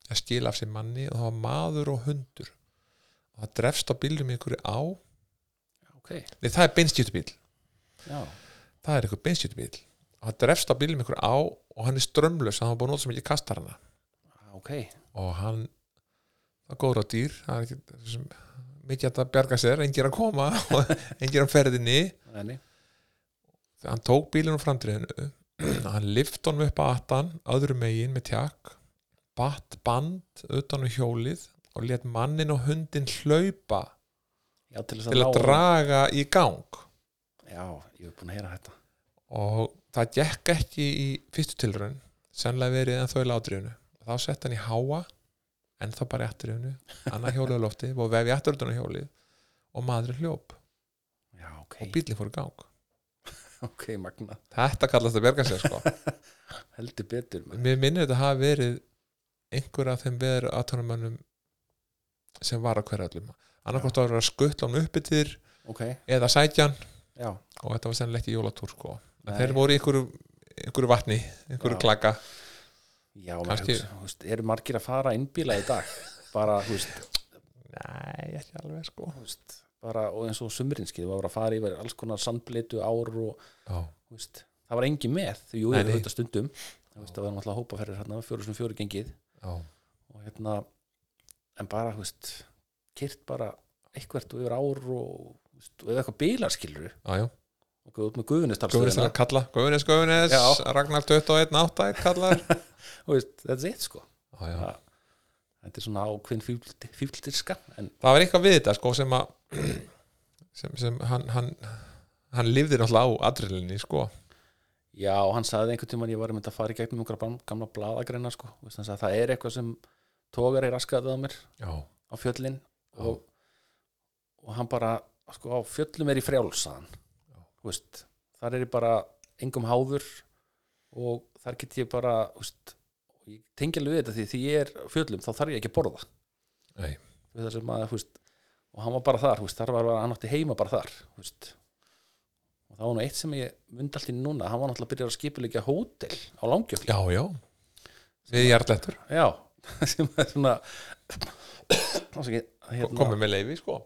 A: að skila af sér manni og það var maður og hundur og það drefst á bílum í einhverju á Nei,
B: ok,
A: það er beinskjötubíl
B: já,
A: það er einhver beinskjötubíl og það drefst á bílum í einhverju á og hann er strömmlös hann var búin að nota sem ekki kastar hana
B: ok
A: og hann það er góður á dýr hann er ekki, sem, mikið hægt að bjarga sér, engir að koma og engir að ferðinni
B: Þannig,
A: þegar hann tók bílinn úr framtriðinu hann lift honum upp að attan öðru megin með tjakk batt band utan á hjólið og let mannin og hundin hlaupa
B: já, til þess
A: til
B: ná
A: að
B: honum.
A: draga í gang
B: Já, ég hef búin að heyra þetta
A: og það gekk ekki í fyrstu tilraun sennilega verið en þau látriðinu og þá sett hann í háa en þá bara í aftriðinu, annað hjólið á lofti og vefi aftur utan á hjólið og maður hljóp
B: já, ok,
A: og bílinn fór í gang
B: ok, magna
A: þetta kallast að berga sér sko
B: heldur betur maður.
A: mér minnir þetta hafi verið einhver af þeim veður aðtónumönnum sem var að hverja allum annarkvæmt var að skuttla hann uppi til þér
B: ok,
A: eða sætjan
B: já,
A: og þetta var sennilega ekki jólatúr sko En
B: Nei.
A: þeir voru í einhverju, einhverju vatni einhverju
B: Já.
A: klaka
B: já maður
A: Kannski-
B: hugsa, þú veist, eru margir að fara innbíla í dag bara, þú veist,
A: Nei, ekki alveg sko
B: þú veist bara, og eins og sumrinskið, það var að fara yfir alls konar sandblitu, ár og
A: Já,
B: þú veist, það var engin með, jú,
A: Nei,
B: ég
A: nei.
B: veit að stundum þú veist, það var náttúrulega hópaferðir hérna, fjóru sem fjóru gengið
A: já,
B: og hérna en bara, þú veist, kyrt bara eitthvert og yfir ár og, þú veist, og eða eitthvað bílarskilur
A: já, já
B: og góð út með
A: Guðunis
B: guðunistalstöðina
A: að kalla, Guðunis, Guðunis
B: Já.
A: Ragnar 21, 8 kallar Já,
B: Þú veist, þetta er eitt sko
A: já.
B: Já. þetta er svona ákveðin fífldi- fífldirska en
A: Það var eitthvað við þetta sko sem að sem, sem hann, hann hann lifði náttúrulega á adrenalinni sko
B: já, hann sagði einhvern tímann ég var einmitt að fara í gegnum einhverja bam- gamla bladagreina sko, Þú veist, hann sagði það er eitthvað sem tógar er raskaðið á mér
A: Já,
B: á fjöllin og, og hann bara, sko, á fjöllum er í frjálsaðan veist, þar er ég bara engum háður og þar get ég bara þú veist, og ég tengi alveg við þetta því því ég er á fjöllum þá þarf ég ekki að borða
A: Nei.
B: Við það sem maður, þú veist, og hann var bara þar þú veist, þar var bara, hann átti heima bara þar þú veist. og það var nú eitt sem ég myndi allt í einu núna, hann var náttúrulega að byrja að skipulegja hótel á Langjöfli
A: já, já Við jarðlettur,
B: já, sem er svona Afsakið, hérna,
A: komum með leifi sko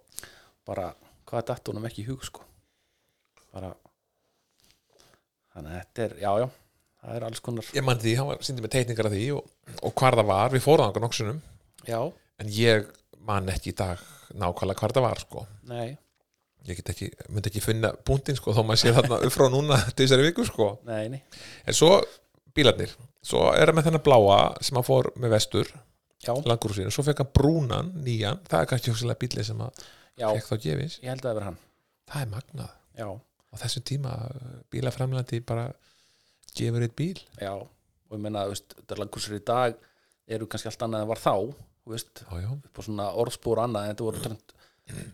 B: bara hvað datt honum ekki í hug sko bara þannig að þetta er, já já það er alls konar,
A: Ég man því, hann var síndi með teikningar af því og, og hvar það var, við fórum þangar nokksunum
B: já,
A: en ég man ekki í dag nákvæmlega hvar það var sko
B: nei
A: ég get ekki, myndi ekki finna búndin sko þó maður sé þarna upp frá núna til þessari viku sko
B: nei, nei,
A: en svo bílarnir svo er hann með þennan bláa sem hann fór með vestur
B: já,
A: langur úr sínu, svo fekk hann brúnan nýjan, það er kannski hugsilega bíli sem hann
B: já
A: fekk þá gefins,
B: ég held að það vera hann,
A: það er magnað
B: já,
A: á þessum tíma uh, bílaframlandi bara gefur eitt bíl
B: já og ég meina, þú veist, þetta langkursur í dag eru kannski allt annað en var þá þú veist,
A: já, já,
B: upp á svona orðspór annað en þetta voru trönd-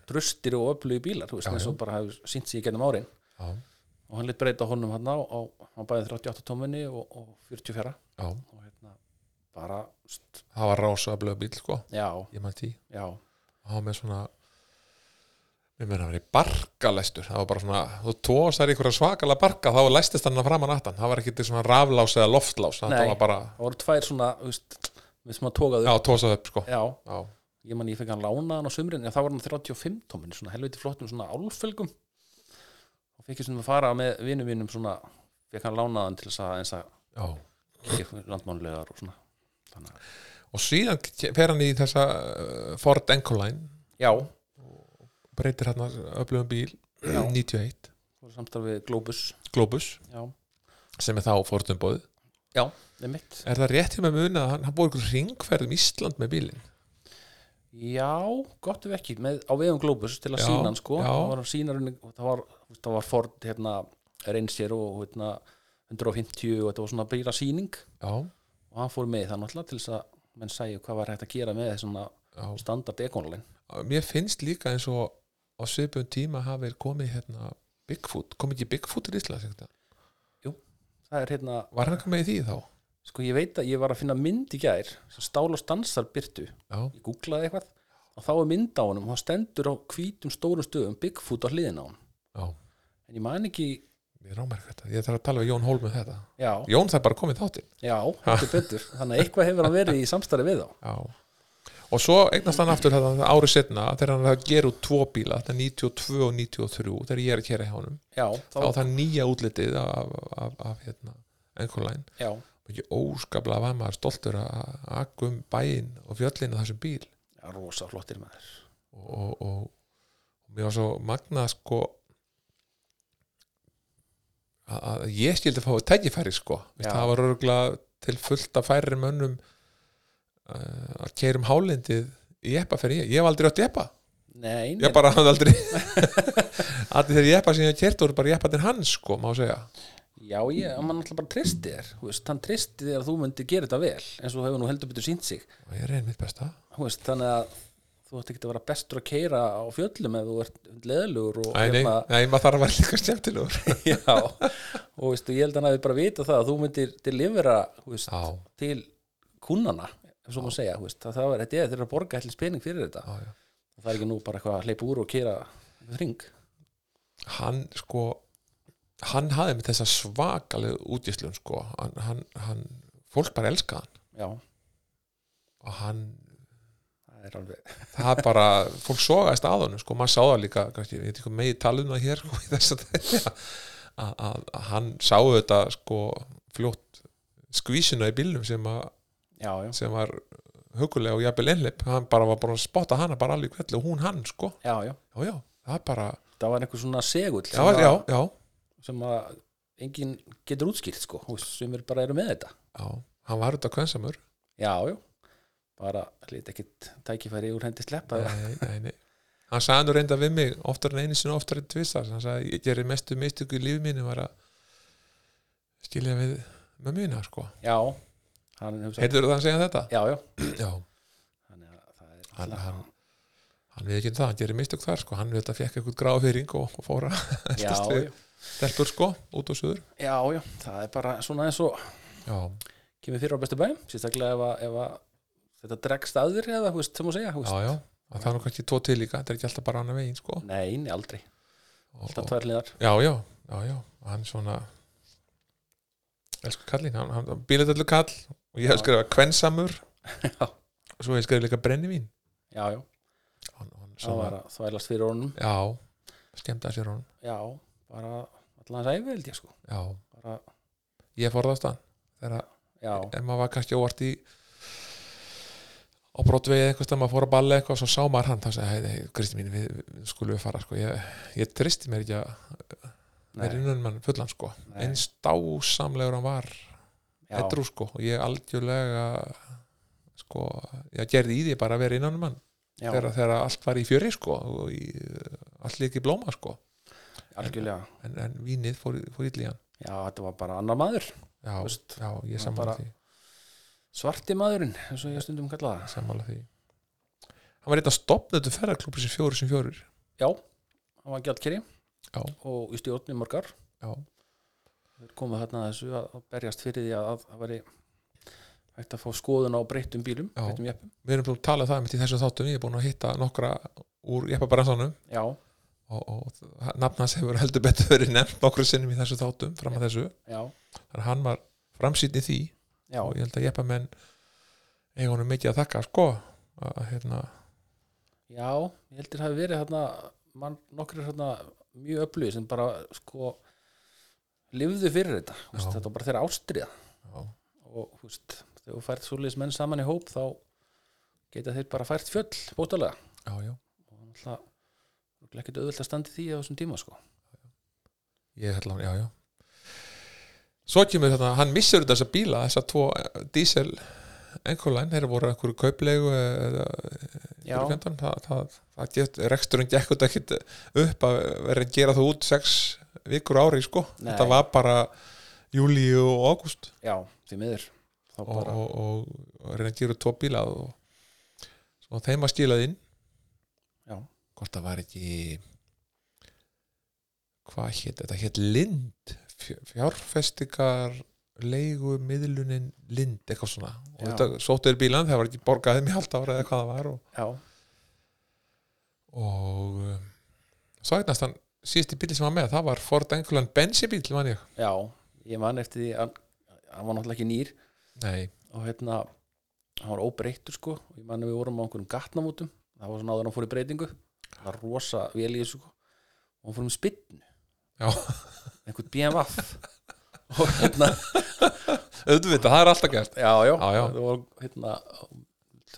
B: drustir og öflugi bílar, þú veist,
A: Já,
B: eins og bara hafði sínt sér í gennum árin
A: já,
B: og hann lit breyta honum hann á, á, á bæði 38 tóminni og, og 44
A: já
B: og hérna, bara, þú veist,
A: það var rása að blöða bíl sko,
B: já,
A: ég man tí
B: já
A: það var með svona við meina að vera í barkalestur það var bara svona, þú tóðast þær í einhverja svakala barka þá læstist hann að framan aftan það var ekki til svona raflás eða loftlás það
B: Nei.
A: var bara,
B: það voru tvær svona þú veist, við sem að tókaðu
A: já, tóðast upp sko
B: já,
A: já,
B: ég man ég fekk hann lánaðan á sumrin en það var hann 35 tómin, svona helviti flottum svona álfölgum og fekk ég svona að fara með vinum mínum svona fekk hann lánaðan til þess að eins að
A: já
B: kíkja landmánlegar og svona þannig að,
A: og síðan ke- fer hann í þessa uh, Ford Encoline
B: já, það
A: breytir hann öflugum bíl 91,
B: voru samstarf við Globus
A: Globus
B: já,
A: sem er þá Fordum bóð
B: já, það er mitt
A: er það rétt hjá með muna að hann, hann búið einhver ringferð um Ísland með bílinn
B: já, gott ef ekki, með, á vegum Globus til að
A: Já,
B: sína hann sko
A: já.
B: það var, sínarunni, það var, það var Ford hérna, Ranger og hérna, 150 og þetta var svona bíla síning
A: já,
B: og hann fór með það náttúrulega til þess að menn sæju hvað var hægt að gera með svona
A: já,
B: standard ekonulinn
A: mér finnst líka eins og á svipum tíma hafið komið hérna Bigfoot, kom ekki Bigfoot til Íslands einhvern tímann?
B: það er hérna,
A: var hann komið í því þá?
B: sko ég veit að ég var að finna mynd í gær sem stál og stansar byrtu
A: Já,
B: ég googlaði eitthvað og þá er mynd á honum og hann stendur á hvítum stórum stöðum Bigfoot á hliðin á hann
A: já,
B: en ég man ekki,
A: ég rámar þetta ég þarf að tala við Jón Hólm um þetta
B: já,
A: Jón þarf bara komið þáttinn
B: já, þetta er betur þannig að eitthvað hefur hann verið í samstarfi við þá
A: já. og svo eignast hann aftur þetta árið setna þegar hann er að gera út tvo bíla þetta er 92 og 93 þegar ég er að kera hjá honum
B: já,
A: þá
B: þá,
A: er það nýja útlitið af, af, af, af hérna, Encoline
B: já,
A: og ég óskaplega var maður stoltur að akka um bæinn og fjöllinu þessum bíl
B: já, rosa flottir maður
A: og, og, og, mér var svo magnað sko að, að ég skildi að fá tækifæri sko Veist,
B: Já.
A: það var örgulega til fullt að færi mönnum uh, að keirum hálindið í eppa fyrir ég, ég hef aldrei átt í eppa
B: nei, nei,
A: ég bara hafði aldrei allir þegar ég eppa sem ég hef kert voru bara eppa til hans sko má segja
B: já, ég, hann náttúrulega bara tristi þér þú veist, hann tristi þér að þú myndi gera þetta vel eins og þú hefur nú heldur betur sínt sig
A: og ég reyni mitt besta
B: Þú veist, þannig að þú þú ætti ekki að vera bestur að keira á fjöllum ef þú ert leðlugur og hérna,
A: Æ, nei, nei, maður þarf að vera líka skemmtilegur
B: já, og veistu, ég held að hann hafi bara vita það að þú myndir delivera þú veist,
A: Já,
B: til kunnana ef svo má segja, þú veist, að það var þetta eða þeir eru að borga allir spenning fyrir þetta
A: já, já
B: það er ekki nú bara eitthvað að hleypa úr og keira hring
A: hann sko hann hafði með þessa svakalegu útgislun sko hann, hann, hann, fólk bara elskaði hann
B: já,
A: og hann,
B: það er alveg
A: það bara fólk sogaðist að honum sko, maður sá það líka kannski, ég veit ekki hvað megi tala um það hér sko, í þess að, að, að, að hann sá þetta sko fljótt skvísuna í bílnum sem, að,
B: já, já,
A: sem var hugulega og jafnvel einleip hann bara var búin að spotta hana bara alveg hvernig og hún hann sko,
B: já, já,
A: já já, það er bara
B: það var einhver svona segull
A: já, já,
B: að,
A: já,
B: sem að enginn getur útskýrt sko, þú veist, sem er bara eru með þetta
A: já hann var auðvitað kvensamur
B: já, já, bara hlýtt ekkit tækifæri úr hendi sleppa
A: nei, nei, nei. hann sagði nú reynda við mig oftar en einu sinni oftar en tvistar hann sagði ég gerir mestu mistöku í lífi mínu var að skilja við með mína sko
B: já, hann hefur sagt
A: heyrður það að segja þetta?
B: já, já,
A: já,
B: þannig að það er
A: Hann-
B: náttúrulega-
A: hann- hann við ekki um það, hann gerir mistök þar sko hann við þetta fekk eitthvað gráfyrring og, og fóra eldast
B: já,
A: við stelpur sko út og suður
B: já, já, já, það er bara svona eins og
A: já,
B: kemur fyrir á bestu bæm, sérstaklega ef, að- ef að þetta dregst að þér eða, þú veist, sem að segja, þú
A: já,
B: veist
A: já og það er nú kannski tvo til líka, þetta er ekki alltaf bara annað veginn sko
B: nei, nei, aldrei,
A: og,
B: alltaf
A: og,
B: tvær hliðar
A: já, já, já, já, hann svona elsku kallinn hann, hann bíladöllu kall og ég hef
B: Já.
A: skrifað kvensamur
B: já,
A: og svo hef ég skrifað líka brennivín
B: já, já,
A: hann, hann
B: það var
A: svona,
B: að þvælast fyrir honum
A: já, skemmtaði sér honum
B: já, bara allan sæfi held ég sko,
A: já,
B: bara,
A: ég forðast hann þegar
B: já,
A: að- ef maður var kannski óvart í á brotvegi eitthvað stað maður fór að balla eitthvað og svo sá maður hann þá sagði, hei, hei, Kristi mín, við, við skulum við fara sko. ég, ég tristi mér ekki að vera
B: nei,
A: innan mann fullan sko.
B: Nei.
A: eins dásamlegur hann var
B: já,
A: edru sko og ég algjörlega sko, ég gerði í því bara að vera innan mann
B: já,
A: þegar, þegar allt var í fjöri sko og í, allt líki blóma sko
B: algjörlega
A: en, en vínið fór, fór illa í hann
B: já, þetta var bara annar maður,
A: já,
B: Þú veist,
A: já, ég
B: hann
A: sammála
B: bara-
A: því,
B: svarti maðurinn eins og ég stundum kalla það,
A: sammála því hann var eitthvað stopnað þetta ferðarklúpi sem fjóri sem fjórir
B: já hann var gjaldkeri
A: Já.
B: og í stjórnum margar
A: já,
B: þeir komu þarna að þessu að að berjast fyrir því að að það væri hægt að fá skoðun á breyttum bílum
A: Já.
B: breyttum jeppum,
A: við erum búin að tala um það einmitt í þessu þáttum, ég er búin að hitta nokkra úr jeppabransanum
B: já,
A: og, og nafn hans hefur heldur betur verið nefnt nokkru sinnum í þessu þáttum fram að þessu,
B: já,
A: þannig að hann var framsýtt í því
B: já
A: og ég held að jeppamenn eiga honum mikið að þakka sko að hérna,
B: já, ég heldur hafi verið þarna mann, nokkur þarna mjög öflugir sem bara sko lifðu fyrir þetta, þú veist,
A: Já.
B: þetta var bara þeirra ástriða
A: já,
B: og þú veist, þegar þú fært svoleiðis menn saman í hóp þá geta þeir bara fært fjöll bóttalega
A: já, já
B: og náttúrulega ekki auðvelt að standi því á þessum tíma sko
A: ég held að, já, já svo kemur þetta, hann missur þessa bíla þessa tvo eh, diesel einhverlæn, þeir voru einhverju eh, kauplegu eða
B: já,
C: 15?
A: 15, það, það, það get, reksturinn gekk út ekkit upp að vera að gera það út sex vikur á ári sko
B: Nei.
A: þetta var bara júli og ágúst
B: já, því miður þá
A: og,
B: bara,
A: og, og, og reyna að gera tvo bíla og, og þeim að skilað inn
B: Já.
A: hvort það var ekki hvað hétt, þetta hétt Lind fjö- fjárfestingar leigu miðlunin Lind, eitthvað svona og
B: Já.
A: þetta sóttuður bílan, það var ekki borgaðið mér halda ára eða hvað það var og,
B: já,
A: og um, svo eignast hann síðusti bíli sem var með, það var Ford England bensibíl, man ég
B: já ég man eftir því að hann var náttúrulega ekki nýr
A: Nei,
B: og hérna hann var óbreyttur sko og ég manna við vorum á einhverjum gatnamótum það var svona áður en hann fór í breytingu það var rosa vel í þessu sko og hann fór um spinn
A: Já.
B: einhvern BMW og hérna,
A: auðvitað, það er alltaf gert
B: já, já,
A: Já, já.
B: það var hérna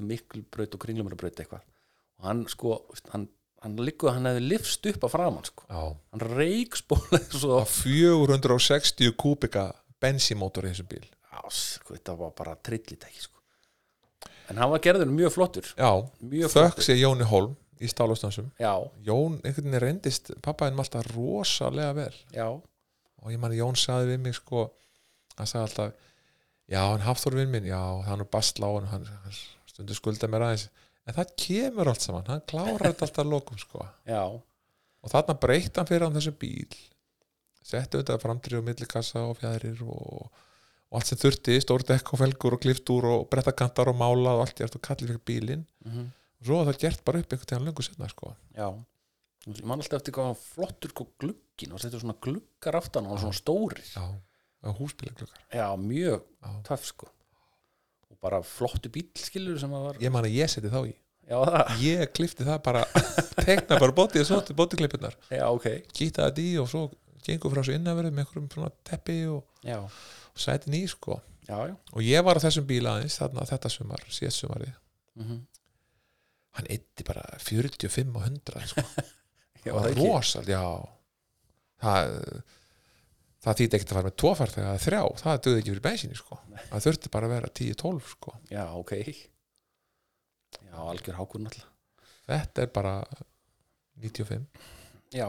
B: miklu braut og kringlumara braut eitthvað og hann sko, veist, hann, hann líkuð hann hefði lifst upp að framann sko
A: Já,
B: hann reik spólaði svo
A: það 460 kúbika bensímótor í þessum bíl
B: já, sko, þetta var bara trillitæki sko en hann var gerður mjög flottur
A: Já,
B: mjög
A: þökk sé Jóni Holm í stálastansum
B: já,
A: Jón einhvern veginn reyndist pappaðinn um alltaf rosalega vel
B: já,
A: og ég manni Jón saði við mig sko hann sagði alltaf já, hann Hafþór vinn minn, já, hann er basla á hann hann stundur skulda mér aðeins en það kemur allt saman, hann klárar þetta alltaf að lokum sko
B: já,
A: og þarna breytti hann fyrir hann þessu bíl setti auðvitað framdrið og millikassa og fjæðrir og, og allt sem þurfti, stór dekk og felgur og kliftur og brettakantar og málað og allt ég og kallið fyrir bílinn
B: mhm,
A: og svo var það gert bara upp einhvern tíðan löngu setna sko.
B: já ég man alltaf eftir hvað hann flottur hvað glugginn og settur svona gluggar aftan og svona stórir
A: já, húsbílaglukkar
B: já, mjög
A: Já.
B: töff sko og bara flottu bíl skilur sem að var
A: ég man að ég seti þá í
B: já, það,
A: ég klifti það bara tekna bara bótið og svo til bótiklippurnar
B: já, ok
A: kýta þetta í og svo gengur frá svo innanverðu með einhverjum svona teppi og,
B: já,
A: og sæti ný sko
B: já, já
A: og ég var á þessum bíl aðeins þarna þetta sumar, síðast sumari
B: mhm,
A: hann eitti bara 45 og 100 sko.
B: já,
A: það var
B: ekki.
A: rosald, já það það þýtti ekkert að fara með tófart þegar þrjá, það döði ekki fyrir bensinni sko. það þurfti bara að vera 10-12 sko.
B: já, ok já, algjör hákur náttúrulega
A: þetta er bara 95
B: já,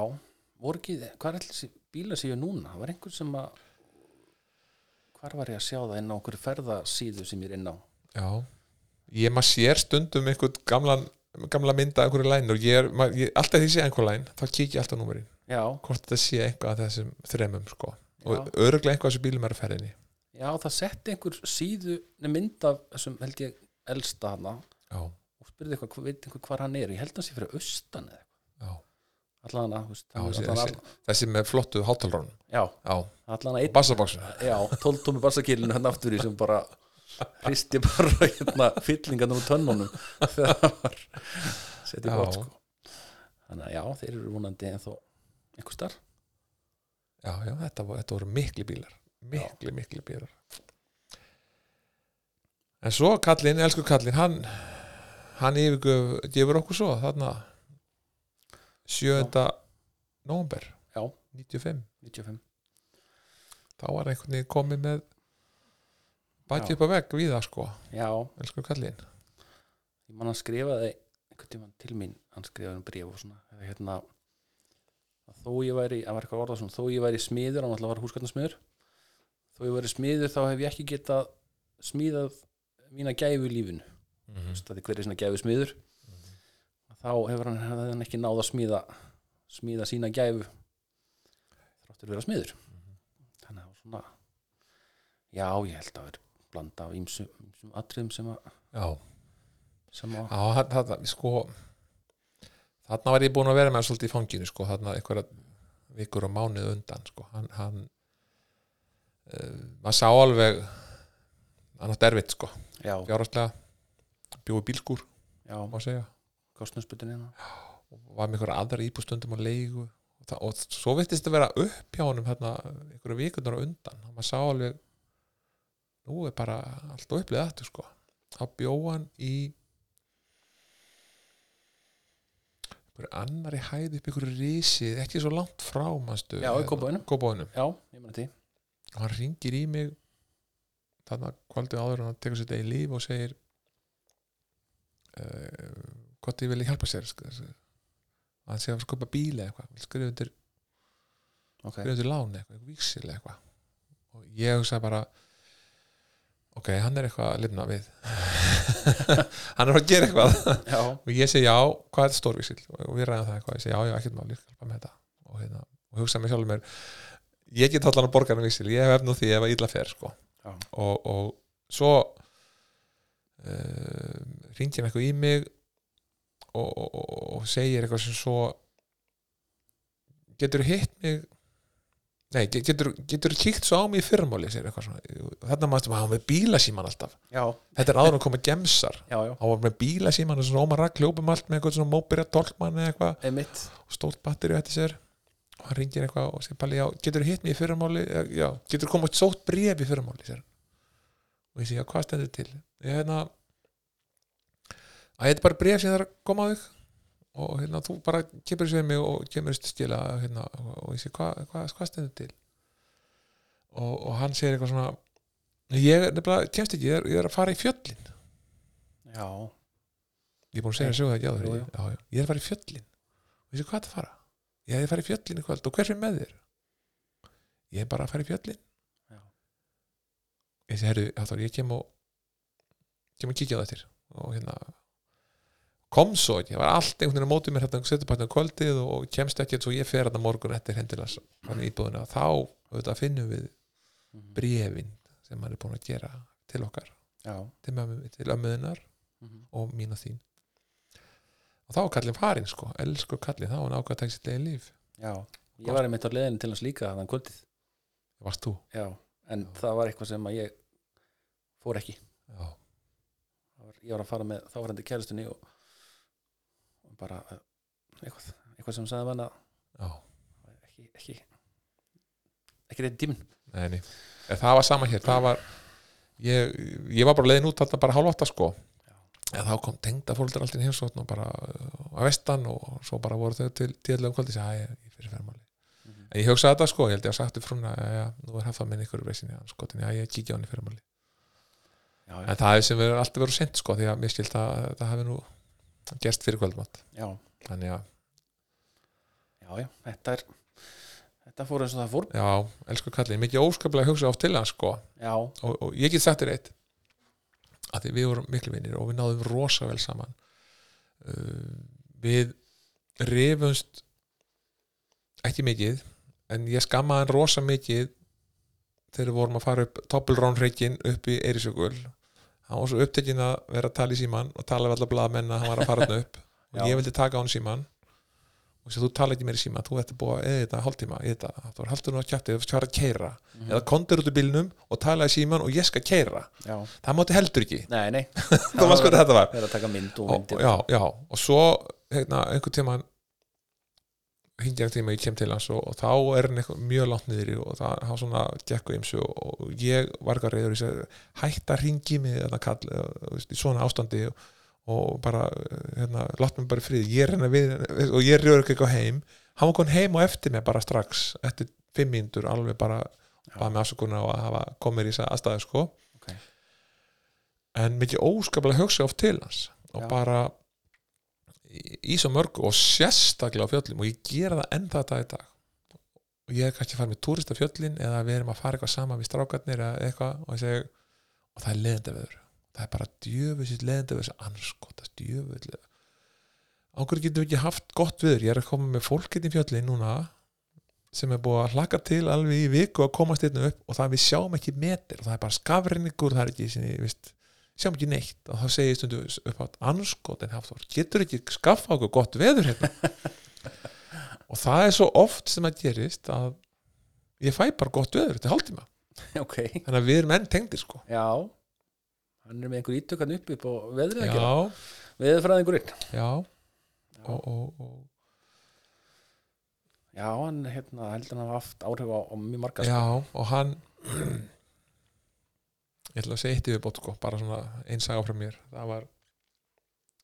B: voru ekki, hvað er allir þessi bíla séu núna, það var einhver sem að hvar var ég að sjá það inn á okkur ferðasíðu sem ég er inn á
A: já, ég maður sér stundum einhvern gamlan gamla mynda einhverju læn og ég er, maður, ég, alltaf því sé einhver læn, þá kík ég alltaf á númerin
B: já,
A: hvort þetta sé eitthvað af þessum þremum sko. og
B: já,
A: öruglega eitthvað af þessum bílum er að ferðinni
B: já, það setti einhver síðu nei, mynd af þessum held ég elsta hana
A: já,
B: og spurði eitthvað, hva- veit einhver hvar hann er ég held hann sé fyrir austan eða
A: já,
B: eitthvað allan hana, þú veist,
A: Já,
B: hann-
A: þessi-
B: allan
A: þessi- þessi með flottu hátalrón
B: já,
A: já,
B: allan að
A: og bassabóksina
B: Já, 12 tómi bassakilinu hann aftur í sem bara hristi bara hérna fyllingan úr tönnunum þegar það var setið
A: Já.
B: bort sko. Þannig að já, þeir eru vonandi ennþá einhver starf
A: já, já, þetta, vo- þetta voru mikli bílar mikli, mikli bílar en svo kallinn, elsku kallinn hann, hann yfirgöf gefur okkur svo, þarna 7. november
B: Já.
A: 95,
B: 95,
A: þá var einhvern veginn komið með bakið upp að vegg við það sko,
B: já,
A: elsku kallinn
B: ég man að skrifa þeir einhvern tímann til mín, hann skrifaði um bréf og svona, eða hérna að þó ég væri, það var eitthvað orðað svona þó ég væri smiður, hann alltaf var húskarnasmiður þó ég væri smiður þá hef ég ekki getað smíðað mína gæfu í lífinu
A: mm
B: veist, að því hver er svona gæfu smiður þá hefur hann, hefði hann ekki náð að smíða smíða sína gæfu þráttur að vera smiður þannig að það var svona já, ég held að vera blanda af ýmsum, ýmsum atriðum sem að,
A: já,
B: sem að
A: já það, það, sko þarna var ég búin að vera með hann svolítið í fanginu sko, þarna einhverja vikur og mánuð undan sko, hann, hann uh, maður sá alveg hann átt erfitt sko,
B: já, já,
A: fjárhastlega bjóði bílskur,
B: já
A: má segja
B: kostnarsputin hérna
A: og var með einhverja aðra íbústundum og leigu og, það, og svo vittist að vera upp hjá honum þarna einhverja vikunar á undan og maður sá alveg nú er bara allt upplið aftur sko þá bjóð hann í einhverju annari hæð upp einhverju risið, ekki svo langt frá manstu, hérna,
B: Já, í Kópavoginum.
A: kópóinum
B: já, ég meni því,
A: og hann ringir í mig þarna kvöldið áður og hann tekur sér þetta í líf og segir uh, hvort ég vilja hjálpa sér sko, þessu. að hann sé að skupa bíla eitthvað vill skrifa undir,
B: ok
A: skrifa undir lán eitthvað, vísil eitthvað og ég hugsa bara ok, hann er eitthvað að lifna við hann er að gera eitthvað
B: já,
A: og ég segi já, hvað er þetta stórvísil og við ræðum það eitthvað, ég segi já, já, ekkert máli ég skal bara með þetta og, hérna, og hugsa mig sjálfur mér ég get allan að borga hann vísil ég hef efn á því ef að illa fer sko.
B: Já.
A: og, og svo uh, ringi hann eitthvað í mig og, og, og, og segir eitthvað sem svo getur hitt mig nei, ge- getur, getur kíkt svo á mig í fyrramáli segir eitthvað svona, þarna maður að hafa með bílasíman alltaf,
B: já,
A: þetta er áður að koma gemsar
B: já, já
A: hann var með bíla síman og svona ómar rakk hljópum allt með eitthvað svona móbyrja tólkmann eða eitthvað
B: einmitt,
A: og stórt batteri eftir sér og hann ringir eitthvað og segir Palli, já, getur hitt mér í fyrramáli já, getur komað sótt bref í fyrramáli sér. og ég segi, já, hvað stendur til ég hérna að þetta er bara bref sem það er að koma á þig og hérna, þú bara kemur þessu við mig og kemur þessu til skila hérna, og, og ég segi, hvað hva, hva stendur til og, og hann segir eitthvað svona ég er nefnilega, kemst ekki, ég er, ég er að fara í fjöllin
B: já,
A: ég er búin að segja að sjóða ekki á þér
B: Jú,
A: já,
B: jú.
A: já. ég er að fara í fjöllin og ég sé hvað það fara ég er að fara í fjöllin í kvöld og hver er með þér ég er bara að fara í fjöllin
B: Já.
A: ég sé herru, Hafþór, ég kem og kem og kíkja á það eftir og hérna kom svo ekki, það var allt einhvern veginn á móti mér hérna setjupættan kvöldið og kemst ekki svo ég fer hérna morgun eftir hendilas hann íbúðina og þá auðvitað, finnum við
B: mhm,
A: brefin sem hann er búin að gera til okkar,
B: já,
A: til, mömmu- til ömmuðinar
B: Mhm.
A: og mín og þín og þá var kallinn farinn sko elsku kallinn, þá var hann ákveð að taka sitt leiði líf
B: já ég var einmitt á leiðinu til hans líka þannig kvöldið
A: varst þú?
B: já, en það var eitthvað sem að ég fór ekki
A: Já,
B: Það var, ég var að fara með þáfærandi kæristunni og, og bara eh, eitthvað, eitthvað sem sagði manna
A: já,
B: ekki ekki, ekki þetta tíminn
A: neini en það var sama hér, það var ég, ég var bara leiðin út þarna bara hálfótta sko en þá kom tengda fólkdar alltaf heimsókn og bara uh, að vestan og svo bara voru þau til tíðlega um kvöldi og sagði, "Æ, ég fyrir fermáli
B: Mhm.
A: en ég hugsaði þetta sko, ég held ég að sagti frúna já, já, nú er hefða minn ykkur reysinni hann sko, þannig að ég kíkja á hann í fermáli
B: já,
A: en það hefði sem verið alltaf verið sent sko, því að mér skilt að það hefði nú gerst fyrir kvöldmatt
B: já,
A: þannig að,
B: já, já, þetta er þetta fór eins og það fór
A: já, elsku kallinn mikið óskaplega hugsa oft til hans sko
B: já,
A: og, og ég get sagt þér eitt að því við vorum miklu vinnir og við náðum rosa vel saman uh, við rifumst ekki mikið en ég skammaði hann rosa mikið þegar við vorum að fara upp toppelrónreikin upp í Eirisjökul hann var svo upptekinn að vera að tala í síman og tala við alla blaðamenn að hann var að fara hann upp og
B: Já.
A: ég vildi taka á hann síman og sér þú tala ekki meir í síma, þú ætti búið að eða þetta hálftíma, eða þetta, þú var haldur nú að kjátti þú var að keira, eða kondur út úr bílnum og talaði síman og ég skal keira
B: já,
A: það mátti heldur ekki,
B: nei, nei
A: það var sko hvað þetta var
B: verið að taka mynd og
A: og,
B: myndir
A: já, já, og svo hérna, einhvern tíma hingja tíma ég kem til hans og, og þá er hann eitthvað mjög langt niður í og það hann svona gekk og ymsu og, og ég var ekki að reyður þess að hætta ringi mig þetta kall eh, þú veist, í svona ástandi og, og bara eh, hérna, látt mig bara í frið ég reyna við og ég reyður ekki eitthvað heim hann var kon heim og eftir mig bara strax eftir fimm mínútur alveg bara
B: Já.
A: bara með afsökunar og að hafa komið í þess aðstæðu sko
B: Ok.
A: en mikið óskaplega hugsa oft til hans og
B: Já.
A: bara í, í svo mörgu og sérstaklega á fjöllum og ég gera það ennþá þetta í dag og ég er kannski að fara með túrista fjöllin eða við erum að fara eitthvað saman við strákarnir eða eitthvað og ég segi og það er leðendaveður það er bara djöfusitt leðendaveður sem anskotast djöfusitt ákveður getum við ekki haft gott viður ég er að koma með fólkið í fjöllin núna sem er búið að hlaka til alveg í viku að komast einnig upp og það við sjáum ekki metir og það er bara skafrinningur það er ekki sinni, viðst, sjáum ekki neitt og þá segir ég stundu upp átt anskotin Hafþór, getur ekki skaffa okkur gott veður hérna og það er svo oft sem að gerist að ég fæ bara gott veður þetta er hálftíma,
B: ok,
A: þannig að við erum enn tengdir sko
B: já hann er með einhver ítökan upp upp og veðrið að gera
A: já,
B: veðurfræðingurinn
A: já og, og, og
B: já, hann hérna, heldur hann hafa haft áhrif á, á mjög marga sko.
A: Já, og hann ég ætla að segja eitt yfirbót sko, bara svona einn saga frá mér það var,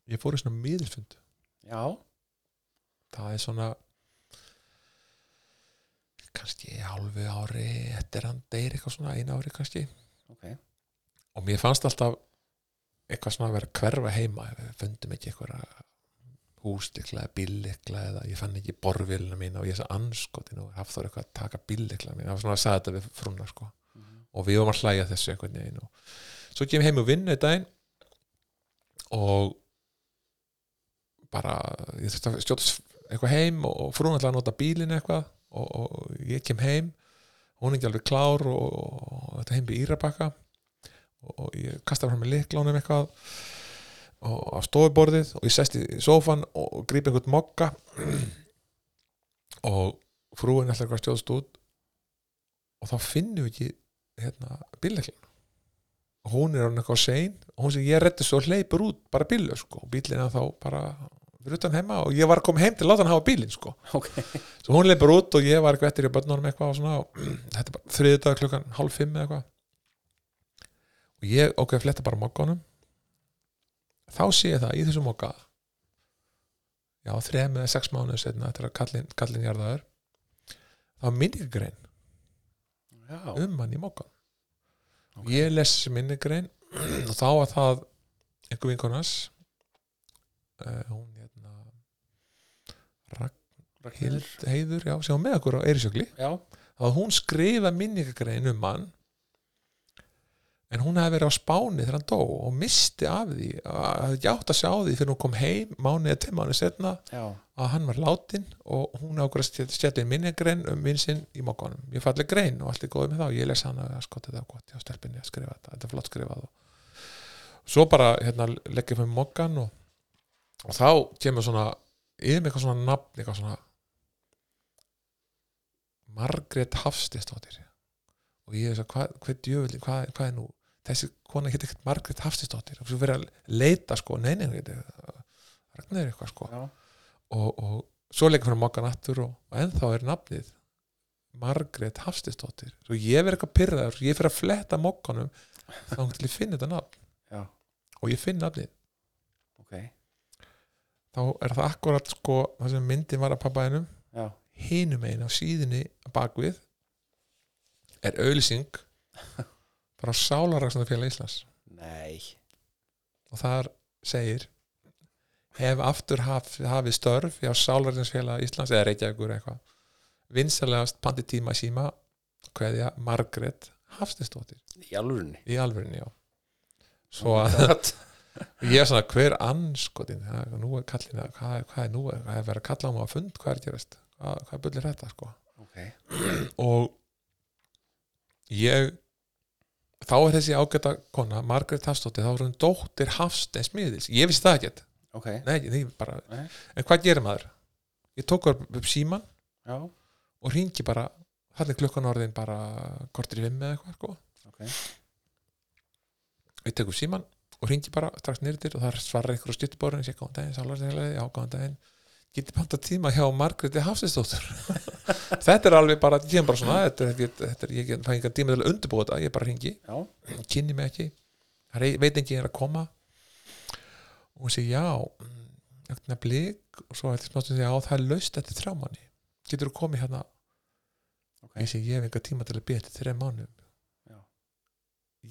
A: ég fór í svona miðilfund
B: já,
A: það er svona kannski hálfu ári eftir hann deyr eitthvað svona einu ári kannski
B: ok,
A: og mér fannst alltaf eitthvað svona að vera að hverfa heima ef við fundum ekki eitthvað hústikla eða bíllikla eða ég fann ekki borvilna mín og ég þess að anskotin og hafði þá eitthvað að taka bíllikla mín það var svona að sagði þetta við frúna sko og við varum að hlæja að þessu einhvern veginn og svo kem ég heim og vinnu í daginn og bara ég þurfti að stjóta eitthvað heim og frún ætlaði að nota bílinn eitthvað og, og ég kem heim hún er ekki alveg klár og, og, og þetta heim við Írabakka og, og ég kastaði fram með liklónum eitthvað og á stofuborðið og ég sest í sófan og gríp einhvern mokka og frúin ætlaði eitthvað að stjóðast út og þá finnum við ekki hérna, bílleklan og hún er hann eitthvað sein og hún sem ég rétti svo hleypur út bara bílu sko. og bílina þá bara fyrir utan heima og ég var að koma heim til að láta hann hafa bílinn sko.
B: ok
A: svo hún leipur út og ég var eitthvað eftir í börnunum eitthvað og svona og þetta er bara þriðið dag klukkan hálf fimm eða eitthvað og ég ok, fletta bara mokkanum þá sé ég það í þessu mokka já, þrem eða sex mánuð setna eftir að kallin, kallin jarðaður þá er minningrein
B: já,
A: um hann í mokkan
B: Ok.
A: ég les þessi minnigrein og þá var það einhver vinkonars uh, hún hérna Ragnhild
B: Ragnhildur
A: Heiður, já, sem var með okkur á Eirisjökli
B: já,
A: að hún skrifa minningagrein um hann en hún hefði verið á Spáni þegar hann dó og misti af því að ég átt að sjá því fyrir hún kom heim mánuðið til mánuðið setna
B: já,
A: að hann var látin og hún ákveður að stjætla í minningrein um vinn sinn í mokkanum ég falli grein og allt er góð með þá ég les hana að skotta þetta er gott, já stelpinni að skrifa þetta þetta er flott skrifað og svo bara hérna leggjum við mokkan og, og þá kemur svona yfir mig eitthvað svona nafn eitthvað svona Margrét Hafstistóttir og ég er svo hvað, hvað djöfull hvað, hvað er nú, þessi kona hétt ekkert Margrét Hafstistóttir og svo fyrir að leita sko, nei, nei, nei, nei Ragnar er eitthvað sko
B: já,
A: og, og svo leikur fyrir mokkan aftur og, og ennþá er nafnið Margrét Hafstisdóttir svo ég verið eitthvað pyrraður, ég fyrir að fletta mokkanum þá til ég finn þetta nafn
B: já,
A: og ég finn nafnið,
B: ok
A: þá er það akkurat sko það sem myndin var að pappaðinum
B: já,
A: hinum einu á síðinni að bakvið er auðlýsing bara sálaraksandarfélag Íslands
B: nei,
A: og þar segir hef aftur haf, hafið störf hjá Sálarðinsfélag Íslands eða Reykjavíkur eitthvað vinsalegast pandi tíma í síma kveðja Margrét Hafstistóttir
B: í alvörinni
A: í alvörinni já svo að ég er svona hver anskotin ha, nú er kallina, hvað, er- hvað er nú hvað er verið að kalla á mig að fund, hvað er að gerast hvað, hvað bullir þetta sko
B: ok,
A: og ég þá er þessi ágæta kona Margrét Hafstóttir, þá er hún dóttir Hafsteins miðils, ég vissi það ekki
B: ok
A: Nei, ekki, nei, bara,
B: Nei.
A: en hvað gerir maður? Ég tók upp, upp síman
B: já,
A: og ringi bara þannig klukkan orðin bara kortir í vimmi eða eitthvað sko.
B: ok,
A: Ég tek upp síman og ringi bara strax nýrðir og þar svarar einhver á stjórnbórun ég góðan daginn, sálarsinlega, já góðan daginn getið panta tíma hjá Margréti Hafsinsdóttur þetta er alveg bara, ég er bara svona þetta er, þetta er, þetta er, ég get- fæ engan tíma til að undirbúa þetta ég bara ringi,
B: já,
A: kynni mig ekki það er- veit enginn er að koma og hún segi já ögna blík og svo eftir smáttum segi já það er laust eftir þrjá manni getur þú komið hérna
B: ok
A: ég segi ég hef enga tíma til að byrja til þrjá mánu
B: Já.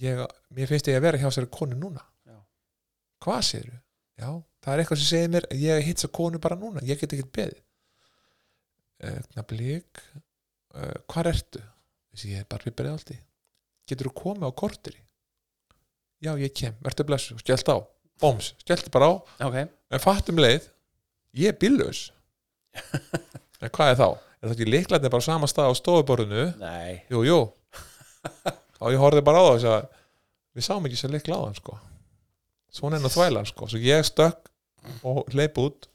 A: ég, mér finnst ég að vera hjá sér konu núna
B: Já.
A: hvað segir þú? já, það er eitthvað sem segir mér að ég hitsa konu bara núna, ég get ekkert beðið Eh, ögna blík uh, hvar ertu? ég segi ég er bara við byrjaði alltið getur þú komið á korteri? já, ég kem, verður blessu, skellt á bóms, skellti bara á
B: ok,
A: en fattum leið ég er bíllaus en hvað er þá? er það ekki líklarnir bara á sama stað á stofuborðinu
B: nei
A: jú, jú þá ég horfði bara á það og sagði, við sáum ekki sér líkla á hann sko svona enn að þvæla hann sko svo ég stökk og hleyp út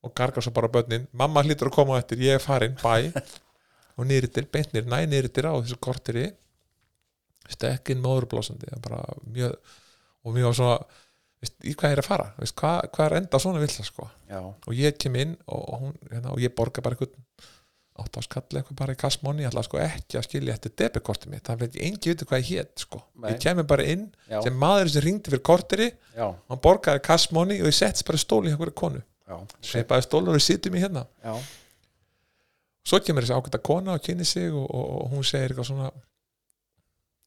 A: og gargar svo bara börnin mamma hlýtur að koma á eftir, ég er farin, bæ og nýritir, beintnir, næ nýritir á þessu korteri stökkinn móðurblásandi það er bara mjög, og mjög svona veist, í hvað er að fara, veist, hvað, hvað er að enda svona vill sko
B: já,
A: og ég kem inn og, og, hún, hérna, og ég borga bara einhvern átt á skall eitthvað bara í kassmóni ég ætla sko ekki að skilja eftir debikortið mitt það veit ég engi viti hvað ég hét sko.
B: Nei.
A: ég kemur bara inn
B: já,
A: sem maður sem ringdi fyrir korteri
B: já,
A: hann borgaði kassmóni og ég setst bara í stóli hjá hverju konu
B: já
A: okay. bara stólar og sittum í hérna
B: já,
A: svo kemur þessi ágæta kona og kynni sig og, og, og hún segir eitthvað svona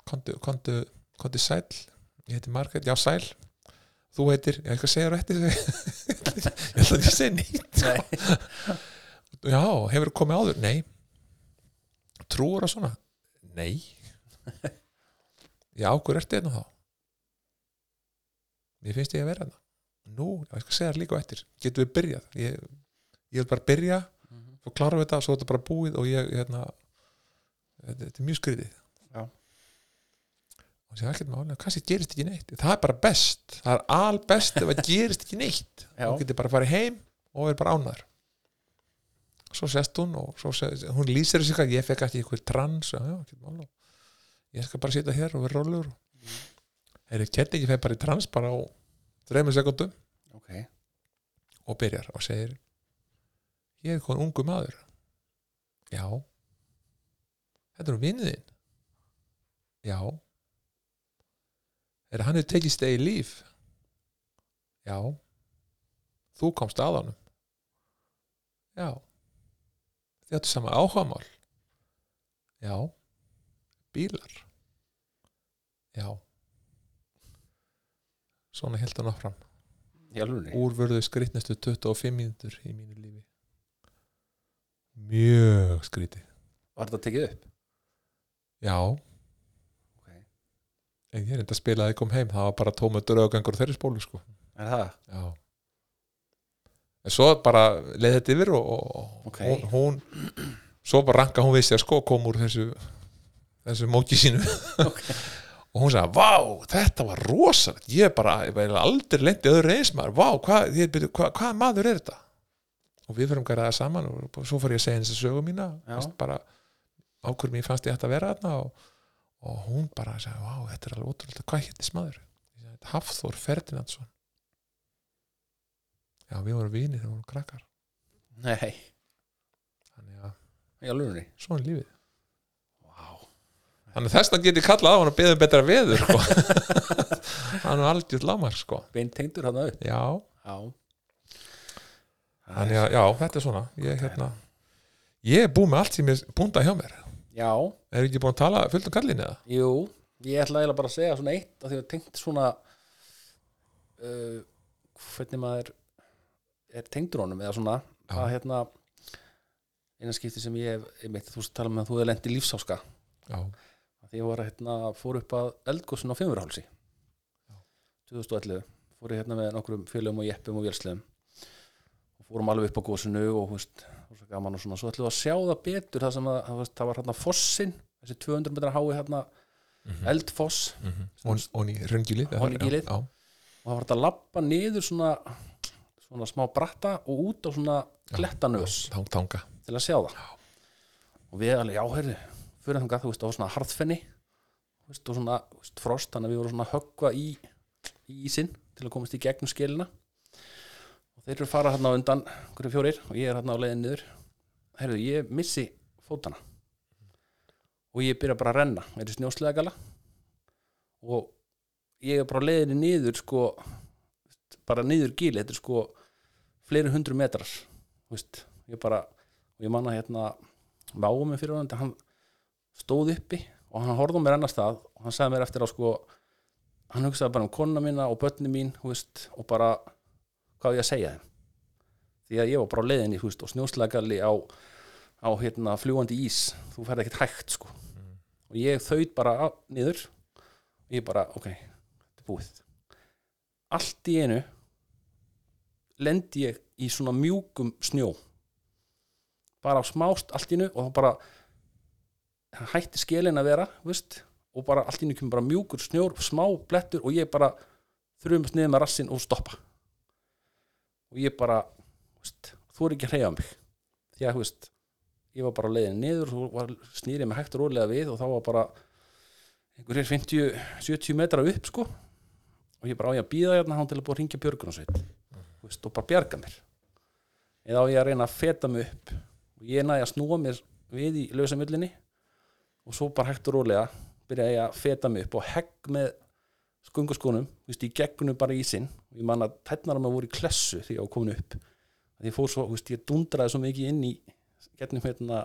A: kondu, kondu, kondu sæl ég heiti Margrét, já sæl þú heitir, já eitthvað segir rétti ég ætla ekki að segja neitt sko.
B: nei
A: Já, hefur komið áður? Nei Trúur á svona? Nei Já, hver ertu hérna þá? Mér finnst ég að vera hérna Nú, já, ég skal segja það líka á eftir Getum við byrjað? Ég, ég vil bara byrja
B: Mhm.
A: svo klárum við þetta, svo er þetta bara búið og ég, hérna þetta, þetta er mjög skrýtið
B: Já.
A: Og sér ekkert máli, kannski gerist ekki neitt Það er bara best, það er albest ef það gerist ekki neitt
B: Já.
A: Þú getur bara að fara heim og er bara ánæður svo sest hún og svo sest, hún lýsir þessu eitthvað, ég fekk ekki eitthvað trans já, já, ekki mál ég skal bara sitja hér og vera rólegur mm. er þetta kett ekki fæði bara í trans bara á þreymur sekundum
B: ok,
A: og byrjar og segir ég er kon ungu maður já þetta er nú vinnið þinn já er hann hefur tekið stegi líf já þú komst að honum já þið áttu saman áhugamál já bílar já svona held hann áfram
B: í alvörinni
A: úrvörðu skrýtnestu 25 mínútur í mínu lífi mjög skrýti
B: var þetta tekið upp?
A: já,
B: ok,
A: ég er enda að spila að ég kom heim það var bara tómu draugangur þeirri spólu sko.
B: Er það?
A: já en svo bara leið þetta yfir og, og
B: Ok.
A: hún, hún svo bara ranka hún við sér sko kom úr þessu þessu móki sínu
B: Ok.
A: og hún sagði, vá, þetta var rosalegt ég bara, ég bara aldrei lendi öðru eins maður, vá, hvað, ég, byrju, hvað, hvað maður er þetta og við fyrir um gæraða saman og bara- svo fór ég að segja henni þessu sögu mína
B: Já.
A: Veist bara, ákvörðum ég fannst ég ætti að vera þarna og, og hún bara sagði, vá, þetta er alveg ótrúlega hvað héttis maður? Ég sagði, Hafþór Ferdinandsson já, við vorum vinir þegar við vorum krakkar
B: Nei,
A: þannig að,
B: í alvörunni
A: svona er lífið
B: Vá,
A: þannig að þess vegna get ég kallað á hann og beðið um betra veður sko. hann er algjörð lámar sko.
B: beint tengdur hann upp
A: já,
B: Já
A: Þannig að, já, þetta er svona ég, hérna, ég er búið með allt sem ég búnda hjá mér
B: Já,
A: Er ekki búin að tala fullt um kallin eða?
B: jú Ég ætla eiginlega bara að segja svona eitt af því að tengt svona uh, hvernig maður er tengdur honum eða svona
A: Já.
B: að hérna eina skipti sem ég hef, ég þú veist tala með að þú hefur lent í lífsáska
A: Já,
B: Af því ég var að hérna, fór upp að eldgóssin á fimmurhálsi 2011 fór ég hérna með nokkrum félögum og jeppum og vélslegum og fórum alveg upp á gósinu og þú veist, það var svo gaman og svona svo ætlum við að sjá það betur það sem að, það, veist, það var hérna fossin þessi 200 metra hái hérna eldfoss
A: mm -hmm. Onni röngilið eða-
B: Hraungilið.
A: Já,
B: og það var þetta að labba niður svona svona smá bratta og út á svona klettanös
A: já, tang, tanga
B: til að sjá það og við alveg, já, heyrðu fyrir þangar, þú veist, á svona harðfenni þú veist, og svona þú veist, frost, þannig að við vorum svona að höggva í, í ísinn til að komast í gegnum skilina og þeir eru að fara hérna á undan hverju fjórir og ég er hérna á leiðin niður heyrðu, ég missi fótana og ég byrja bara að renna mér er snjóslega gala og ég er bara á leiðinni niður sko, bara niður gíli þetta er sko fleiri hundru metrar þú veist, ég bara og ég manna hérna váum mig fyrir honandi, hann stóð uppi og hann horfði á mér annars stað og hann sagði mér eftir á sko hann hugsaði bara um konuna mína og börni mín þú veist, og bara hvað á ég að segja þeim því að ég var bara á leiðinni þú veist, og snjóslagalli á, á hérna, fljúandi ís þú ferð ekkert hægt sko. og ég þaut bara á, niður og ég bara, ok, þetta er búið allt í einu lendi ég í svona mjúkum snjó bara á smást allt í nu og þá bara hætti skelin að vera veist, og bara allt í nu kemur bara mjúkur snjór smá blettur og ég bara þrjumast niður með rassin og stoppa og ég bara veist, þú er ekki að hreyja mig því að þú veist, ég var bara á leiðin niður og var snýrið með hægt og rólega við og þá var bara einhverjir 50-70 metra upp sko og ég bara á ég að býða hérna hann til að búa að ringja björgunarsveit þú veist, og bara bjarga mér eða á ég að reyna að feta mig upp og ég næði að snúa mér við í lausamullinni og svo bara hægt og rólega byrjaði ég að feta mig upp og hegg með skungaskónum, þú veist, ég gegnum bara í ísinn og ég man að tætnar að maður voru í klessu þegar ég var komin upp að ég fór svo, þú veist, ég dundraði svo mikið inn í getnum hérna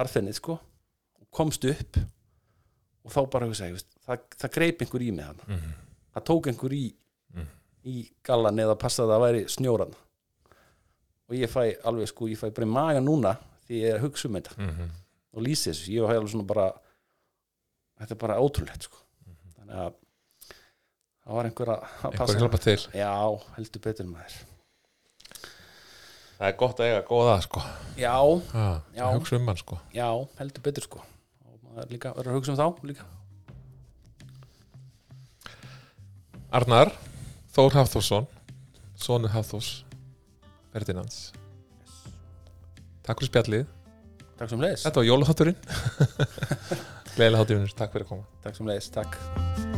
B: harðfennið, sko og komst upp og þá bara, þú veist, það, það greip einhver í mig hann
A: Mhm.
B: það tók einhver í
A: Mhm.
B: í gallan eða passaði að það væri snjóran og ég fæ alveg sko, ég fæ bara í maga núna því ég er að hugsa um þetta
A: mm -hmm.
B: og lýsi þessu, ég var alveg svona bara þetta er bara ótrúlegt sko. þannig að það var einhver að að
A: Einhver hjálpa til
B: já, heldur betur maður
A: Það er gott að eiga góða sko
B: já,
A: ha,
B: Já.
A: Ég hugsa um hann sko
B: já, heldur betur sko og maður líka, verður að hugsa um þá líka
A: Arnar, Þór Hafþórsson Sónu Hafþórs Ferdinands Takk fyrir spjallið
B: takk sem leiðis,
A: Þetta var jólahátturinn Gleðilega hátturinn, takk fyrir að koma
B: takk sem leiðis, takk